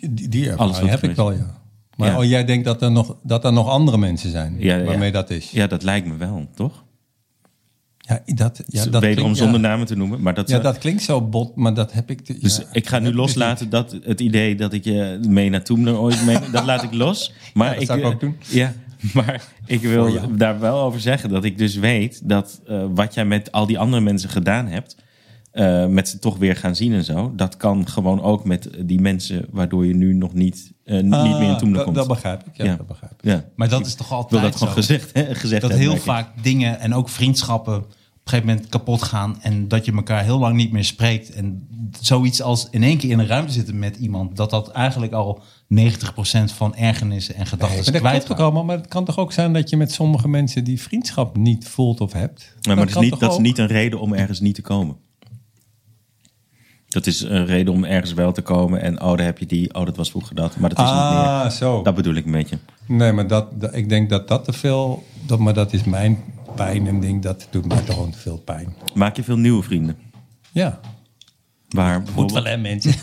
Speaker 3: Die, die
Speaker 5: Alles
Speaker 3: ervaring
Speaker 5: goed
Speaker 3: heb ik
Speaker 5: geweest.
Speaker 3: wel, ja. Maar
Speaker 5: Ja.
Speaker 3: Oh, jij denkt dat er, nog, dat er nog andere mensen zijn.
Speaker 5: Ja, ja.
Speaker 3: waarmee dat is.
Speaker 5: Ja, dat lijkt me wel, toch?
Speaker 3: Ja, dat, ja, dat
Speaker 5: Wederom
Speaker 3: klinkt-
Speaker 5: zonder
Speaker 3: ja.
Speaker 5: namen te noemen, maar dat
Speaker 3: Ja,
Speaker 5: zou-
Speaker 3: dat klinkt zo bot, maar dat heb ik. te-
Speaker 5: Dus
Speaker 3: ja.
Speaker 5: ik ga nu
Speaker 3: Dat heb ik
Speaker 5: loslaten dat het idee dat ik je mee naar Toemler ooit mee... dat laat ik los. Maar
Speaker 3: (laughs) Ja, dat zou ik ook doen.
Speaker 5: Ja, maar ik wil daar wel over zeggen dat ik dus weet... dat eh, wat jij met al die andere mensen gedaan hebt... eh, met ze toch weer gaan zien en zo... dat kan gewoon ook met die mensen... waardoor je nu nog niet, eh, niet
Speaker 3: Ah,
Speaker 5: meer in Toemler
Speaker 3: dat-
Speaker 5: komt.
Speaker 3: Dat begrijp ik. Ja,
Speaker 5: Ja.
Speaker 3: dat begrijp ik.
Speaker 5: ja.
Speaker 2: Maar dat is toch
Speaker 5: Ik wil
Speaker 2: altijd
Speaker 5: dat gewoon
Speaker 2: zo?
Speaker 5: gezegd, hè, gezegd
Speaker 2: dat
Speaker 5: hebben,
Speaker 2: heel
Speaker 5: merk ik.
Speaker 2: vaak dingen en ook vriendschappen op een gegeven moment kapot gaan en dat je elkaar heel lang niet meer spreekt. En zoiets als in één keer in een ruimte zitten met iemand, dat dat eigenlijk al 90% van ergernissen en gedachten
Speaker 3: Maar dat
Speaker 2: kwijt
Speaker 3: klopt ook allemaal, maar het kan toch ook zijn dat je met sommige mensen die vriendschap niet voelt of hebt.
Speaker 5: Ja, maar dat,
Speaker 3: kan
Speaker 5: is niet,
Speaker 3: toch
Speaker 5: dat is
Speaker 3: ook?
Speaker 5: niet een reden om ergens niet te komen. Dat is een reden om ergens wel te komen. En oh, daar heb je die. Oh, dat was vroeger dat. Maar dat is niet meer.
Speaker 3: Ah, zo.
Speaker 5: Dat bedoel ik een beetje.
Speaker 3: Nee, maar dat, dat- ik denk dat dat te veel. Dat, maar dat is mijn pijn en ding. Dat doet mij toch gewoon te veel pijn.
Speaker 5: Maak je veel nieuwe vrienden?
Speaker 3: Ja.
Speaker 5: Waar bijvoorbeeld-
Speaker 3: hè, mensen?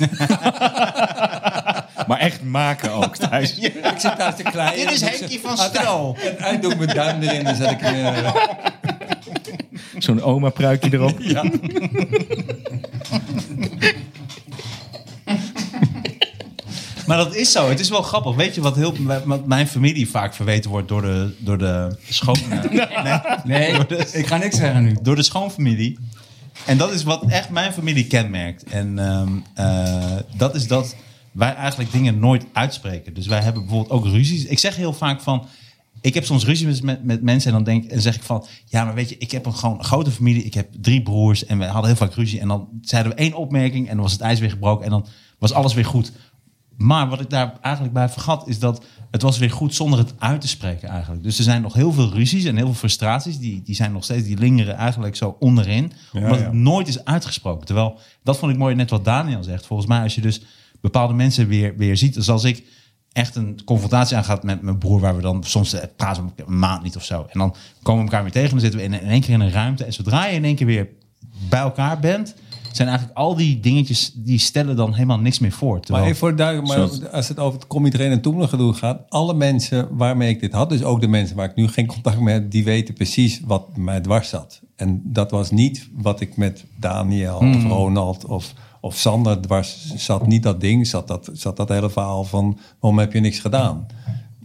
Speaker 5: maar echt maken (laughs) ook thuis.
Speaker 3: (laughs) ik zit daar te klein.
Speaker 2: Dit is Henkie van Stro.
Speaker 3: En hij doet mijn duim erin. Dan zet ik eh,
Speaker 5: Zo'n oma pruikje erop.
Speaker 2: Maar dat is zo. Het is wel grappig. Weet je wat, heel, wat mijn familie vaak verweten wordt door de, door de schoon...
Speaker 6: Nee, ik ga niks zeggen nu.
Speaker 2: door de schoonfamilie. En dat is wat echt mijn familie kenmerkt. En ehm, eh, dat is dat wij eigenlijk dingen nooit uitspreken. Dus wij hebben bijvoorbeeld ook ruzies. Ik zeg heel vaak van. Ik heb soms ruzies met, met mensen en dan denk en zeg ik van. Ja, maar weet je, ik heb een gewoon grote familie. Ik heb drie broers en we hadden heel vaak ruzie. En dan zeiden we één opmerking en dan was het ijs weer gebroken. En dan was alles weer goed. Maar wat ik daar eigenlijk bij vergat is dat het was weer goed zonder het uit te spreken eigenlijk. Dus er zijn nog heel veel ruzies en heel veel frustraties. Die, die zijn nog steeds, die lingeren eigenlijk zo onderin. omdat
Speaker 3: ja.
Speaker 2: het nooit is uitgesproken. Terwijl, dat vond ik mooi net wat Daniel zegt. Volgens mij als je dus bepaalde mensen weer, weer ziet. Dus als ik echt een confrontatie aangaat met mijn broer... waar we dan soms eh, praten we een maand niet of zo. En dan komen we elkaar weer tegen. Dan zitten we in, in één keer in een ruimte. En zodra je in één keer weer bij elkaar bent... zijn eigenlijk al die dingetjes... die stellen dan helemaal niks meer voor.
Speaker 3: Maar
Speaker 2: Terwijl-
Speaker 3: even voor het duidelijk, maar als het over het kom iedereen en toemelen gedoe gaat, alle mensen waarmee ik dit had, dus ook de mensen waar ik nu geen contact mee heb, die weten precies wat mij dwars zat. En dat was niet wat ik met Daniel of Ronald of, of Sander dwars zat. Niet dat ding, zat dat, zat dat hele verhaal van waarom heb je niks gedaan.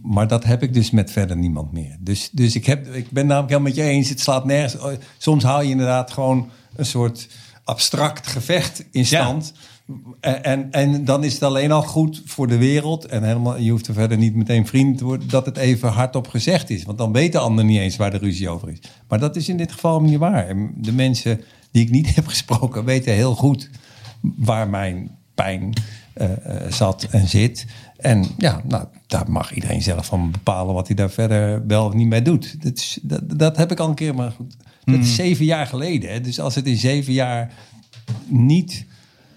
Speaker 3: Maar dat heb ik dus met verder niemand meer. Dus, dus ik, heb, ik ben namelijk helemaal met je eens. Het slaat nergens. Soms haal je inderdaad gewoon een soort abstract gevecht in stand. En, en, en dan is het alleen al goed voor de wereld. En helemaal, je hoeft er verder niet meteen vriend te worden. Dat het even hardop gezegd is. Want dan weet de ander niet eens waar de ruzie over is. Maar dat is in dit geval niet waar. En De mensen die ik niet (laughs) heb gesproken weten heel goed waar mijn pijn eh, eh, zat en zit. En ja, nou, daar mag iedereen zelf van bepalen wat hij daar verder wel of niet mee doet. Dat, is, dat, dat heb ik al een keer, maar goed. Dat is zeven jaar geleden. Hè? Dus als het in zeven jaar niet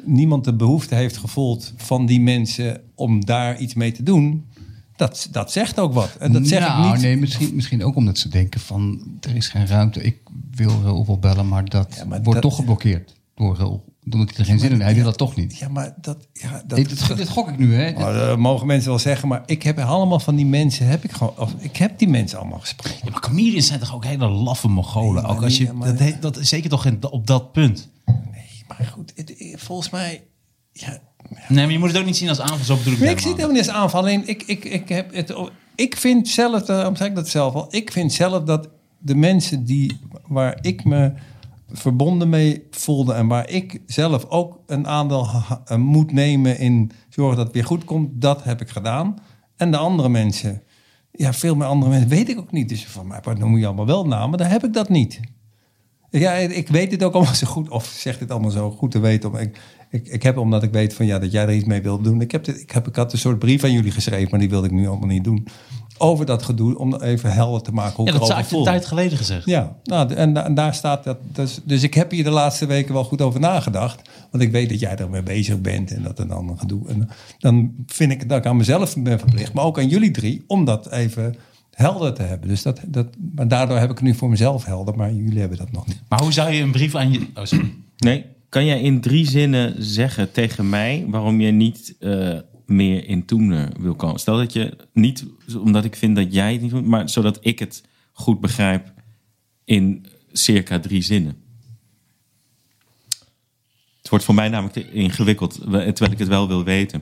Speaker 3: niemand de behoefte heeft gevoeld van die mensen om daar iets mee te doen, dat, dat zegt ook wat. En dat zeg
Speaker 6: nou,
Speaker 3: ik niet.
Speaker 6: nee, misschien, misschien ook omdat ze denken van... er is geen ruimte, ik wil Raoul wel bellen... maar dat
Speaker 3: Ja, maar
Speaker 6: wordt
Speaker 3: dat-
Speaker 6: toch geblokkeerd door Raoul. Omdat hij er geen zin in heeft. Hij wil dat toch niet.
Speaker 3: Ja, maar dat. Ja, dat,
Speaker 6: Dit, dit, dit gok ik nu, hè?
Speaker 3: Maar, eh, mogen mensen wel zeggen, maar ik heb allemaal van die mensen, heb ik gewoon, of, ik heb die mensen allemaal gesproken.
Speaker 2: Ja, maar Kamiris zijn toch ook hele laffe Mongolen?
Speaker 3: maar
Speaker 2: ook als je,
Speaker 3: niet, maar-
Speaker 2: dat, heet- dat, is zeker toch in- op dat punt?
Speaker 3: Nee, maar goed, het- volgens mij, ja,
Speaker 2: Nee, maar je moet het ook niet zien als aanval. Zo bedoel ik
Speaker 3: Nee,
Speaker 2: het
Speaker 3: ik zie het
Speaker 2: helemaal
Speaker 3: helemaal niet als aanval. Alleen ik, ik, ik, heb het, ik vind zelf, daarom zeg ik dat zelf al. Ik vind zelf dat de mensen die, waar ik me verbonden mee voelde en waar ik zelf ook een aandeel ha- ha- moet nemen in zorgen dat het weer goed komt, dat heb ik gedaan. En de andere mensen, ja, veel meer andere mensen weet ik ook niet. Dus van mij, wat noem je allemaal wel namen? Dan heb ik dat niet. Ja, ik weet dit ook allemaal zo goed. Of zeg dit allemaal zo goed te weten. Om, ik, ik, ik heb omdat ik weet van ja, dat jij er iets mee wilt doen. Ik, heb dit, ik, heb, ik had een soort brief aan jullie geschreven, maar die wilde ik nu allemaal niet doen. Over dat gedoe, om even helder te maken hoe
Speaker 2: niet. Ja,
Speaker 3: ik
Speaker 2: dat is
Speaker 3: erover
Speaker 2: eigenlijk
Speaker 3: voel.
Speaker 2: een tijd geleden gezegd.
Speaker 3: Ja, nou, en, da- en daar staat dat. Dus, dus ik heb hier de laatste weken wel goed over nagedacht. Want ik weet dat jij ermee bezig bent en dat en dan een gedoe. En dan vind ik dat ik aan mezelf ben verplicht, maar ook aan jullie drie, om dat even helder te hebben. Dus dat, dat, maar daardoor heb ik het nu voor mezelf helder, maar jullie hebben dat nog niet.
Speaker 2: Maar hoe zou je een brief aan je... Oh, sorry.
Speaker 5: Nee, kan jij in drie zinnen zeggen tegen mij waarom je niet eh, meer in Toemler wil komen? Stel dat je niet, omdat ik vind dat jij het niet doet, maar zodat ik het goed begrijp in circa drie zinnen. Het wordt voor mij namelijk te ingewikkeld, we- terwijl ik het wel wil weten.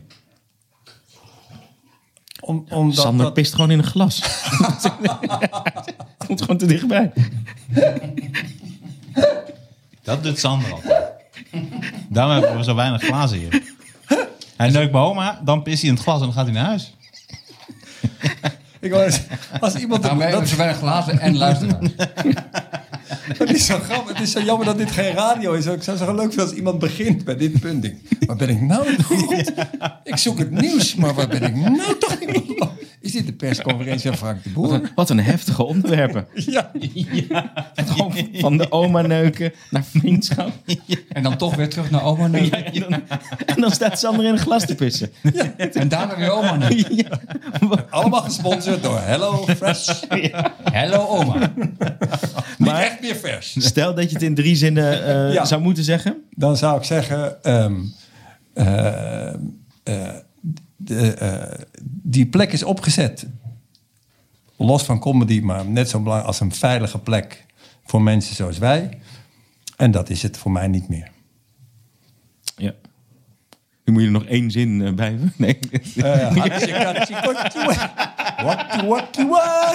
Speaker 3: Om, omdat
Speaker 5: Sander
Speaker 3: dat-
Speaker 5: pist gewoon in een
Speaker 3: (laughs)
Speaker 5: glas. Het komt gewoon te dichtbij.
Speaker 2: Dat doet Sander altijd. (laughs) Daarom hebben we zo weinig glazen hier. Hij neukt mijn oma, dan pist hij in het glas en dan gaat hij naar huis.
Speaker 3: Ik wou eens- als
Speaker 6: (laughs)
Speaker 3: iemand
Speaker 6: Daarmee hebben
Speaker 3: dat,
Speaker 6: ze weinig glazen en luisteraars.
Speaker 3: dat is zo grappig. Het is zo jammer dat dit geen radio is. Ik zou zo leuk vinden als iemand begint bij dit punt. Ik, Waar ben ik nou goed? Ik zoek het nieuws, maar waar ben ik nou toch niet goed? Is dit de persconferentie van Frank de
Speaker 5: Wat
Speaker 3: Boer?
Speaker 5: een, wat een heftige
Speaker 3: (laughs)
Speaker 5: onderwerpen.
Speaker 3: Ja.
Speaker 5: Gewoon van de oma neuken naar vriendschap.
Speaker 6: En dan toch weer terug naar oma
Speaker 3: (laughs)
Speaker 6: neuken.
Speaker 5: En dan, en dan staat Sander in een glas te pissen.
Speaker 6: En daarna weer oma neuken.
Speaker 3: Allemaal gesponsord door Hello Fresh.
Speaker 6: Hello oma.
Speaker 3: Niet
Speaker 5: Maar-
Speaker 3: echt meer vers.
Speaker 5: Stel dat je het in drie zinnen eh,
Speaker 3: Ja.
Speaker 5: zou moeten zeggen.
Speaker 3: Dan zou ik zeggen... ehm, eh, eh, de, eh, die plek is opgezet. Los van comedy, maar net zo belangrijk als een veilige plek voor mensen zoals wij. En dat is het voor mij niet meer.
Speaker 5: Ja. Nu moet je er nog één zin eh, bij. Nee.
Speaker 3: (laughs) Eh, Hatsjekatsie, kotjoe. Wakkie, wakkie, wa.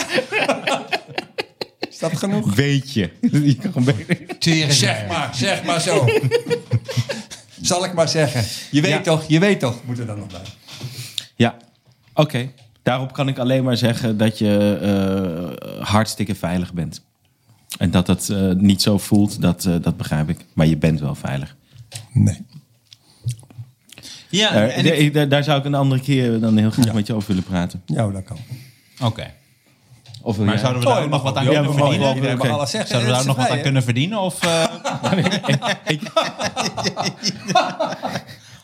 Speaker 3: Is dat genoeg?
Speaker 5: Weet je. Je kan gewoon beter-
Speaker 3: Zeg maar, zeg maar zo. (laughs) Zal ik maar zeggen. Je weet
Speaker 5: Ja.
Speaker 3: toch, je weet toch. Moet er dan nog bij.
Speaker 5: Ja. Oké. Daarop kan ik alleen maar zeggen dat je eh, hartstikke veilig bent. En dat dat eh, niet zo voelt, dat, eh, dat begrijp ik. Maar je bent wel veilig.
Speaker 3: Nee.
Speaker 2: Ja,
Speaker 5: Eh, d- daar- daar zou ik een andere keer dan heel graag met je over willen praten.
Speaker 3: Ja, dat kan.
Speaker 2: Oké.
Speaker 5: Of wil
Speaker 2: Maar
Speaker 5: jij-
Speaker 2: zouden we daar
Speaker 3: Oh,
Speaker 2: ook nog wat aan
Speaker 3: ja,
Speaker 2: kunnen
Speaker 3: we mogen
Speaker 2: verdienen?
Speaker 3: wel weer
Speaker 2: Oké.
Speaker 3: alles zeggen.
Speaker 2: Zouden we daar
Speaker 3: Dat
Speaker 2: nog wat
Speaker 3: zijn
Speaker 2: aan
Speaker 3: wij,
Speaker 2: kunnen verdienen? Of, eh, (laughs)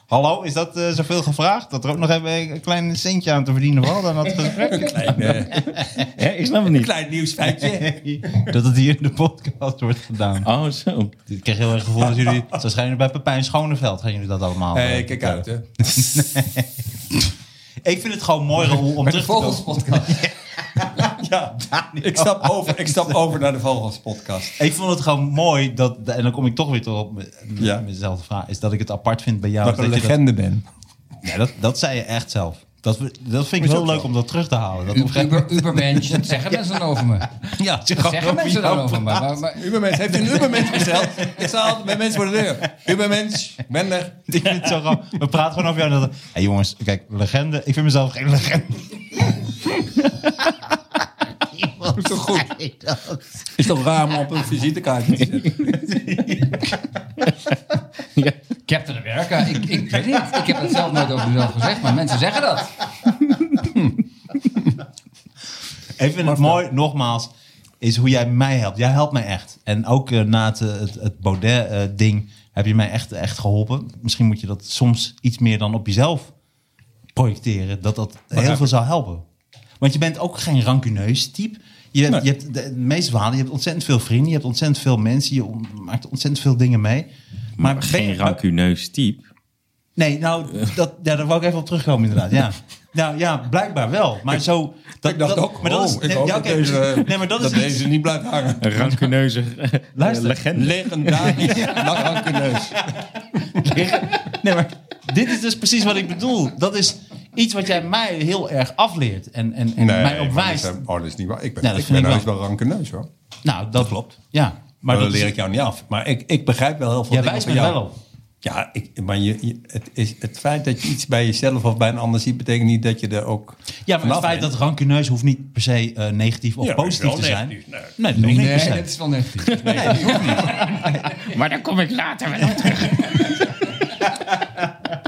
Speaker 2: Hallo, is dat eh, zoveel gevraagd? Dat er ook nog even een klein centje aan te verdienen valt aan (laughs) dat gesprek?
Speaker 3: Klein, eh,
Speaker 5: Hè, ik snap het niet.
Speaker 3: klein nieuwsfeitje.
Speaker 2: dat het hier in de podcast wordt gedaan.
Speaker 5: Oh, zo.
Speaker 2: Ik kreeg heel erg het gevoel dat jullie... Zo waarschijnlijk bij Pepijn Schoneveld gaan jullie dat allemaal...
Speaker 3: Hey,
Speaker 2: eh,
Speaker 3: kijk uit, hè.
Speaker 2: Ik vind het gewoon mooi Raoul, om terug te komen.
Speaker 6: Vogelspodcast.
Speaker 3: Ja, ik stap over, ik stap over naar de Vogels podcast.
Speaker 2: Ik vond het gewoon mooi dat... En dan kom ik toch weer terug op mijn-
Speaker 3: Ja.
Speaker 2: mijn- mijnzelfde vraag. Is dat ik het apart vind bij jou.
Speaker 3: Nou, Dat ik
Speaker 2: is
Speaker 3: een
Speaker 2: dat je dat-
Speaker 3: legende ben.
Speaker 2: Ja, dat, dat zei je echt zelf. Dat, we- dat vind ik wel leuk om dat terug te halen. Dat op een gegeven
Speaker 6: Uber, Ubermensch, dat zeggen mensen dan over me. Dat
Speaker 2: moment- ja, het is gewoon
Speaker 6: zeggen mensen
Speaker 2: jou
Speaker 6: dan over me. Maar, maar,
Speaker 3: Ubermens heeft een Ubermens besteld. Ik sta altijd bij mensen voor de deur. Ubermens, ik ben er.
Speaker 2: Ik (laughs) vind het zo grappig. We praten gewoon over jou. En dat, hey jongens, kijk, legende. Ik vind mezelf geen legende.
Speaker 3: Toch goed. Is toch raar om op een visitekaartje te zetten?
Speaker 6: Captain America, ik, ik weet niet. Ik heb het zelf nooit over mezelf gezegd, maar mensen zeggen dat.
Speaker 2: Ik vind het mooi, nogmaals, is hoe jij mij helpt. Jij helpt mij echt. En ook eh, na het, eh, het, het Baudet-ding heb je mij echt, echt geholpen. Misschien moet je dat soms iets meer dan op jezelf projecteren. Dat dat heel veel zou helpen. Want je bent ook geen rancuneus type. Je hebt, je hebt de, de meeste verhalen, je hebt ontzettend veel vrienden, je hebt ontzettend veel mensen, je on- maakt ontzettend veel dingen mee. Maar, ben je-
Speaker 5: Geen rancuneus type.
Speaker 2: Nee, nou,
Speaker 3: Eh.
Speaker 2: dat, ja, daar wou ik even op terugkomen inderdaad.
Speaker 3: (laughs)
Speaker 2: Ja. Nou ja, blijkbaar wel. Maar zo... Dat,
Speaker 3: Ik dacht
Speaker 2: dat-
Speaker 3: ook,
Speaker 2: maar dat is,
Speaker 3: oh, ik hoop
Speaker 2: ja,
Speaker 3: dat
Speaker 2: oké. dus-
Speaker 3: deze,
Speaker 2: nee, maar dat,
Speaker 3: dat
Speaker 2: is iets-
Speaker 3: deze niet blijft hangen.
Speaker 5: Een (laughs) rancuneuze
Speaker 2: Luister.
Speaker 5: legende.
Speaker 3: Legendarisch. Langhankeneus.
Speaker 2: (laughs) Nee, maar dit is dus precies wat ik bedoel. Dat is iets wat jij mij heel erg afleert en, en, en mij op wijst.
Speaker 3: Oh, dat is niet waar. Ik ben,
Speaker 2: Nee, dat
Speaker 3: ik
Speaker 2: vind
Speaker 3: ben
Speaker 2: ik
Speaker 3: heus
Speaker 2: wel.
Speaker 3: wel rankeneus hoor.
Speaker 2: Nou, dat klopt. Ja, maar
Speaker 3: Maar
Speaker 2: dat
Speaker 3: dat
Speaker 2: is-
Speaker 3: leer ik jou niet af. Maar ik, ik begrijp wel heel veel
Speaker 2: Jij
Speaker 3: dingen
Speaker 2: wijst me
Speaker 3: jou.
Speaker 2: wel op.
Speaker 3: Ja, ik, maar je, je- het, is, het feit dat je iets bij jezelf of bij een ander ziet... betekent niet dat je er ook
Speaker 2: Ja, maar het
Speaker 3: vanaf
Speaker 2: feit
Speaker 3: bent.
Speaker 2: dat rancuneus hoeft niet per se eh, negatief of
Speaker 3: Ja, maar
Speaker 2: positief
Speaker 3: wel
Speaker 2: te zijn.
Speaker 3: negatief, nee.
Speaker 2: Nee, dat hoeft niet per
Speaker 6: Nee,
Speaker 2: se.
Speaker 6: dat is wel negatief.
Speaker 5: Maar daar kom ik later wel op terug.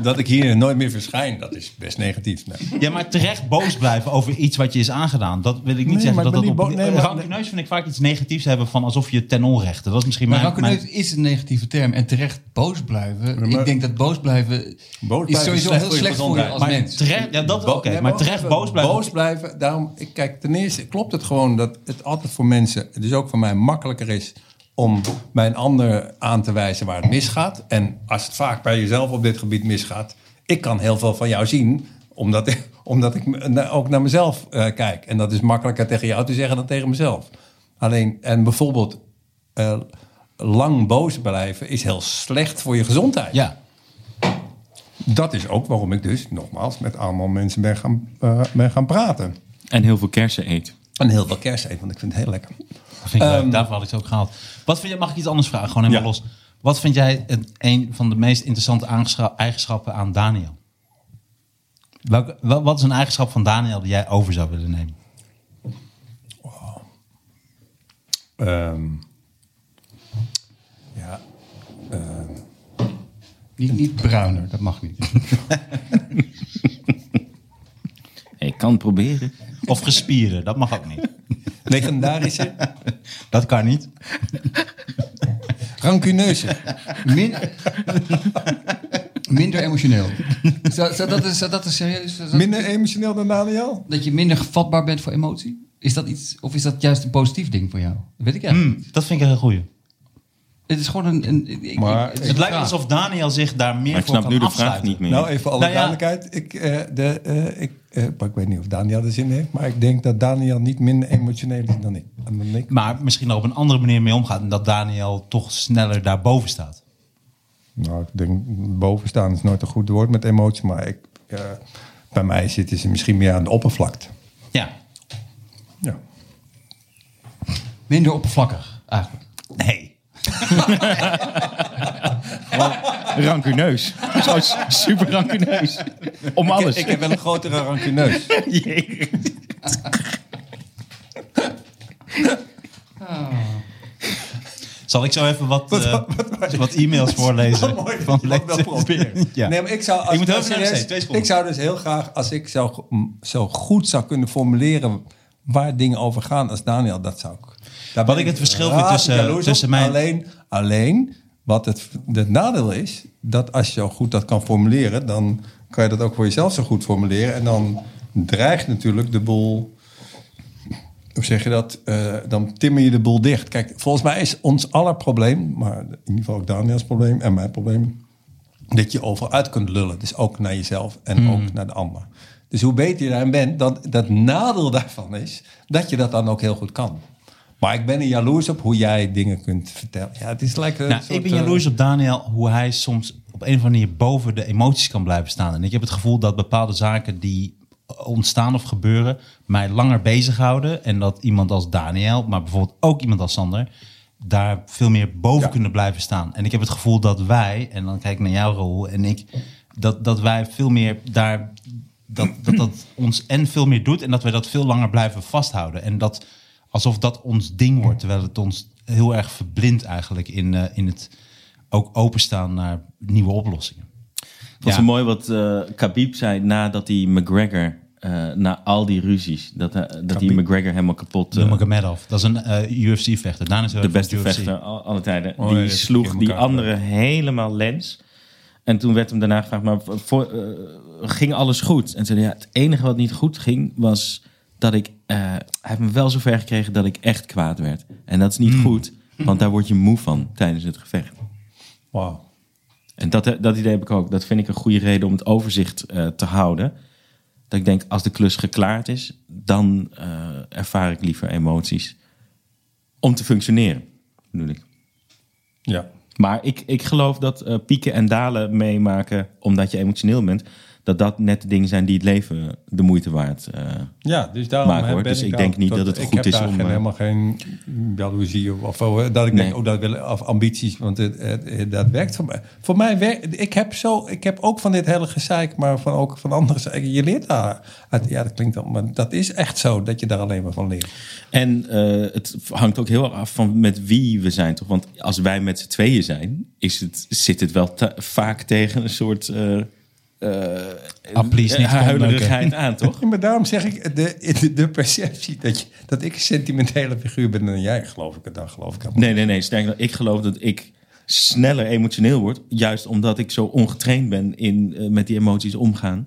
Speaker 3: dat ik hier nooit meer verschijn, dat is best negatief. Nee.
Speaker 2: Ja, maar terecht boos blijven over iets wat je is aangedaan. Dat wil ik niet
Speaker 3: Nee,
Speaker 2: zeggen.
Speaker 3: maar
Speaker 2: Dat
Speaker 3: ik
Speaker 2: dat
Speaker 3: ben
Speaker 2: op...
Speaker 3: niet boos. Nee, maar-
Speaker 2: Rancuneus vind ik vaak iets negatiefs hebben van alsof je ten onrechte. Dat is misschien
Speaker 6: Maar
Speaker 2: mijn...
Speaker 6: rancuneus
Speaker 2: mijn-
Speaker 6: is een negatieve term. En terecht boos blijven.
Speaker 3: maar-
Speaker 6: ik denk dat boos blijven,
Speaker 3: Boos
Speaker 6: is
Speaker 3: blijven
Speaker 6: sowieso
Speaker 3: is slecht
Speaker 6: heel
Speaker 3: voor je
Speaker 6: slecht voor je
Speaker 3: gezondheid.
Speaker 6: als
Speaker 2: Maar
Speaker 6: mens.
Speaker 2: terecht, ja, dat, oké.
Speaker 3: Nee,
Speaker 2: maar terecht
Speaker 3: even
Speaker 2: boos blijven.
Speaker 3: Boos blijven. Daarom, ik kijk, ten eerste klopt het gewoon dat het altijd voor mensen, dus ook voor mij, makkelijker is om bij een ander aan te wijzen waar het misgaat. En als het vaak bij jezelf op dit gebied misgaat, ik kan heel veel van jou zien, omdat ik, (laughs) omdat ik me- na- ook naar mezelf eh, kijk. En dat is makkelijker tegen jou te zeggen dan tegen mezelf. Alleen, en bijvoorbeeld eh, lang boos blijven is heel slecht voor je gezondheid.
Speaker 2: Ja,
Speaker 3: Dat is ook waarom ik dus, nogmaals, met allemaal mensen ben gaan, eh, ben gaan praten.
Speaker 5: En heel veel kersen eet.
Speaker 3: En heel veel kerst eten, want ik vind het heel lekker.
Speaker 2: Dat vind ik
Speaker 6: Ehm,
Speaker 2: leuk. Daarvoor had ik het ook gehaald. Wat vind je, mag ik iets anders vragen? Gewoon helemaal
Speaker 3: Ja.
Speaker 2: los. Wat vind jij het, een van de meest interessante aangescha- eigenschappen aan Daniel? Welke, wel- wat is een eigenschap van Daniel die jij over zou willen nemen?
Speaker 3: Ehm, ja,
Speaker 6: Niet, niet bruiner, dat mag niet.
Speaker 5: Ik kan het proberen.
Speaker 2: Of gespieren, dat mag ook niet.
Speaker 3: legendarische,
Speaker 2: (laughs) Dat kan niet.
Speaker 3: rancuneuze.
Speaker 6: Min- minder emotioneel. Zou, zou dat, is, zou dat is serieus? zou dat-
Speaker 3: Minder emotioneel dan Daniel?
Speaker 6: dat je minder vatbaar bent voor emotie? Is dat iets, of is dat juist een positief ding voor jou? Dat weet ik
Speaker 2: Hmm.
Speaker 6: eigenlijk. niet.
Speaker 2: Hm, Dat vind ik een goeie.
Speaker 6: Het is gewoon een. een ik- ik-
Speaker 3: Maar-
Speaker 6: is
Speaker 2: Het
Speaker 6: een
Speaker 2: lijkt
Speaker 6: vraag.
Speaker 2: alsof Daniel zich daar meer
Speaker 5: Maar ik
Speaker 2: voor
Speaker 5: snap
Speaker 2: kan
Speaker 5: nu de vraag
Speaker 2: afsluiten.
Speaker 5: niet meer.
Speaker 3: Nou, even voor alle
Speaker 2: Nou ja.
Speaker 3: duidelijkheid. Ik, eh, de, eh, ik, eh, maar ik weet niet of Daniel er zin in heeft, maar ik denk dat Daniel niet minder emotioneel is dan ik. Dan ik.
Speaker 2: Maar misschien er op een andere manier mee omgaat. En dat Daniel toch sneller daarboven staat.
Speaker 3: Nou, ik denk bovenstaan is nooit een goed woord met emotie, maar ik, eh, bij mij zitten ze misschien meer aan de oppervlakte.
Speaker 2: Ja.
Speaker 3: Ja.
Speaker 6: Minder oppervlakkig, eigenlijk.
Speaker 2: Ah, Nee.
Speaker 5: Rancuneus. Zo s- super rancuneus. Om alles.
Speaker 3: Ik heb wel een grotere
Speaker 2: (laughs)
Speaker 3: rancuneus.
Speaker 5: Jee.
Speaker 2: Zal ik zo even Ah. wat, eh, wat, (laughs) e-mails
Speaker 3: (laughs)
Speaker 2: voorlezen?
Speaker 3: van ik wil
Speaker 2: lezers? (laughs)
Speaker 3: proberen.
Speaker 2: Ja.
Speaker 3: Nee, maar ik zou, als,
Speaker 2: Ik moet heel
Speaker 3: als
Speaker 2: even naar de wc, twee seconden.
Speaker 3: ik zou dus heel graag, als ik zo, go- m, zo goed zou kunnen formuleren waar dingen over gaan als Daniel, dat zou ik. Daar
Speaker 2: Wat
Speaker 3: ben
Speaker 2: ik het verschil vind
Speaker 3: razend
Speaker 2: tussen-
Speaker 3: jaloers op.
Speaker 2: tussen mijn-
Speaker 3: Alleen, alleen wat het, het nadeel is, dat als je zo goed dat kan formuleren, dan kan je dat ook voor jezelf zo goed formuleren. En dan dreigt natuurlijk de boel hoe zeg je dat? Eh, dan timmer je de boel dicht. Kijk, volgens mij is ons aller probleem, maar in ieder geval ook Daniels probleem en mijn probleem, dat je overal uit kunt lullen. Dus ook naar jezelf en
Speaker 2: Hmm.
Speaker 3: ook naar de ander. Dus hoe beter je daarin bent, dat, dat nadeel daarvan is dat je dat dan ook heel goed kan. Maar ik ben er jaloers op hoe jij dingen kunt vertellen. Ja, het is lekker. een
Speaker 2: Nou,
Speaker 3: soort,
Speaker 2: ik ben
Speaker 3: eh,
Speaker 2: jaloers op Daniel hoe hij soms op een of andere manier boven de emoties kan blijven staan. En ik heb het gevoel dat bepaalde zaken die ontstaan of gebeuren mij langer bezighouden. En dat iemand als Daniel, maar bijvoorbeeld ook iemand als Sander, daar veel meer boven kunnen blijven staan. En ik heb het gevoel dat wij, en dan kijk ik naar jou Roel en ik, dat, dat wij veel meer daar, dat, dat dat ons en veel meer doet en dat wij dat veel langer blijven vasthouden. En dat alsof dat ons ding wordt, terwijl het ons heel erg verblindt eigenlijk in, eh, in het ook openstaan naar nieuwe oplossingen.
Speaker 5: Het was
Speaker 2: Ja.
Speaker 5: zo mooi wat eh Khabib zei nadat hij McGregor, eh, na al die ruzies, dat, eh, dat hij McGregor helemaal kapot, eh,
Speaker 2: Noem ik Medov. Dat is een eh, UFC-vechter. Daarna is hij
Speaker 5: de
Speaker 2: wel
Speaker 5: beste
Speaker 2: UFC.
Speaker 5: vechter al- alle tijden,
Speaker 3: Oh, ja,
Speaker 5: die
Speaker 3: dat is
Speaker 5: sloeg
Speaker 3: tegen
Speaker 5: die
Speaker 3: elkaar
Speaker 5: andere helemaal lens. En toen werd hem daarna gevraagd, maar voor- voor, eh, ging alles goed? En zei hij, ja, het enige wat niet goed ging was dat ik, eh, hij heeft me wel zover gekregen dat ik echt kwaad werd. En dat is
Speaker 3: Hmm.
Speaker 5: niet goed, want daar word je moe van tijdens het gevecht.
Speaker 3: Wauw.
Speaker 5: En dat, dat idee heb ik ook. Dat vind ik een goede reden om het overzicht eh, te houden. Dat ik denk, als de klus geklaard is, dan eh, ervaar ik liever emoties. Om te functioneren, bedoel ik.
Speaker 3: Ja.
Speaker 5: Maar ik, ik geloof dat eh, pieken en dalen meemaken omdat je emotioneel bent... dat dat net de dingen zijn die het leven de moeite waard... eh
Speaker 3: Ja, dus daarom
Speaker 5: maken,
Speaker 3: hè,
Speaker 5: hoor.
Speaker 3: ben
Speaker 5: Dus ik
Speaker 3: daar-
Speaker 5: denk niet dat het goed is
Speaker 3: Ik
Speaker 5: om,
Speaker 3: heb daar geen-
Speaker 5: eh,
Speaker 3: helemaal geen jaloezie of, of, eh, dat ik
Speaker 5: Nee.
Speaker 3: denk, oh, dat wil of ambities, want het, het- het- dat werkt voor mij. Voor mij werkt, ik heb zo, ik heb ook van dit hele gezeik, maar van ook van andere gezeik. Je leert daar, uit- ja, dat klinkt dan, maar dat is echt zo dat je daar alleen maar van leert.
Speaker 5: En eh, het hangt ook heel erg af van met wie we zijn, toch? Want als wij met z'n tweeën zijn, is het, zit het wel te- vaak tegen een soort eh eh,
Speaker 2: Applies niet
Speaker 5: eh, huilerigheid aan, toch?
Speaker 3: Ja, maar daarom zeg ik de, de, de perceptie dat, je, dat ik een sentimentele figuur ben dan jij, geloof ik het dan, geloof ik het.
Speaker 5: Nee, nee, nee. Sterker nog, ik geloof dat ik sneller emotioneel word, juist omdat ik zo ongetraind ben in eh, met die emoties omgaan.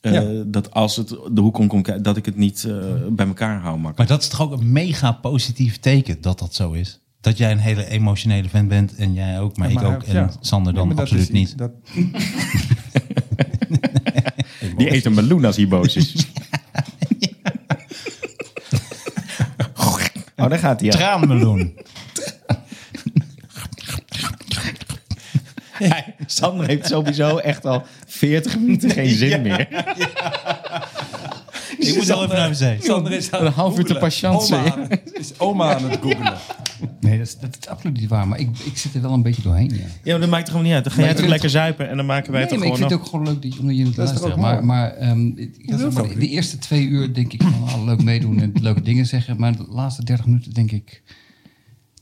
Speaker 5: Eh,
Speaker 3: Ja.
Speaker 5: Dat als het de hoek om komt, kijken, dat ik het niet eh, bij elkaar hou makkelijk.
Speaker 2: Maar dat is toch ook een mega positief teken dat dat zo is? Dat jij een hele emotionele fan bent en jij ook, maar, ik ook. En
Speaker 3: ja.
Speaker 2: Sander
Speaker 3: Ja,
Speaker 2: dan
Speaker 3: maar dat
Speaker 2: absoluut
Speaker 3: is iets-
Speaker 2: niet.
Speaker 3: dat-
Speaker 5: Die eet een meloen als hij boos (laughs) is. Oh, daar gaat hij aan.
Speaker 3: (laughs)
Speaker 2: Traanmeloen.
Speaker 5: Hij- Sander heeft sowieso echt al 40 minuten geen zin meer.
Speaker 2: ik moet al even naar de zee.
Speaker 3: Sander is aan
Speaker 4: Een half uur te
Speaker 3: googelen.
Speaker 4: patiënten.
Speaker 3: Oma aan het- is oma aan het googelen.
Speaker 6: Nee, dat is, dat is absoluut niet waar. Maar ik, ik zit er wel een beetje doorheen, ja.
Speaker 5: Ja, maar dat maakt het gewoon niet uit. Dan ga
Speaker 6: Maar
Speaker 5: jij
Speaker 6: ik
Speaker 5: toch
Speaker 6: vind-
Speaker 5: lekker zuipen en dan maken wij het
Speaker 6: nee,
Speaker 5: toch
Speaker 6: maar ik
Speaker 5: gewoon
Speaker 6: vind het
Speaker 5: nog.
Speaker 6: ook gewoon leuk dat je, omdat je het
Speaker 3: Dat is toch
Speaker 6: luistert.
Speaker 3: ook
Speaker 6: Maar,
Speaker 3: mooi?
Speaker 6: maar ehm, ik- ik-
Speaker 3: wil
Speaker 6: maar
Speaker 3: het ook
Speaker 6: de eerste twee uur denk ik van ah, leuk meedoen en (laughs) leuke dingen zeggen. Maar de laatste dertig minuten denk ik,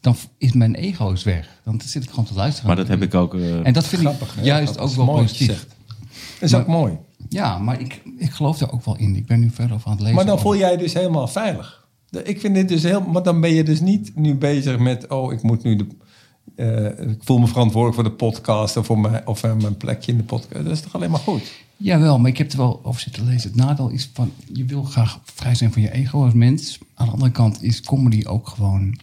Speaker 6: dan f- is mijn ego is weg. Dan zit ik gewoon te luisteren.
Speaker 5: Maar dat heb ik ook. eh,
Speaker 6: En dat vind
Speaker 3: Grappig, hè?
Speaker 6: ik juist
Speaker 3: Dat
Speaker 6: ook
Speaker 3: is
Speaker 6: wel
Speaker 3: mooi
Speaker 6: positief.
Speaker 3: gezegd. Dat is ook mooi.
Speaker 6: Ja, maar ik, ik geloof daar ook wel in. Ik ben nu verder over aan het lezen.
Speaker 3: Maar dan voel jij je dus helemaal veilig. De- Ik vind dit dus heel... Want dan ben je dus niet nu bezig met... Oh, ik moet nu de... eh, ik voel me verantwoordelijk voor de podcast... of voor mijn, of, eh, mijn plekje in de podcast. Dat is toch alleen maar goed?
Speaker 6: Jawel, maar ik heb er wel over zitten lezen. Het nadeel is van, je wil graag vrij zijn van je ego als mens. Aan de andere kant is comedy ook gewoon,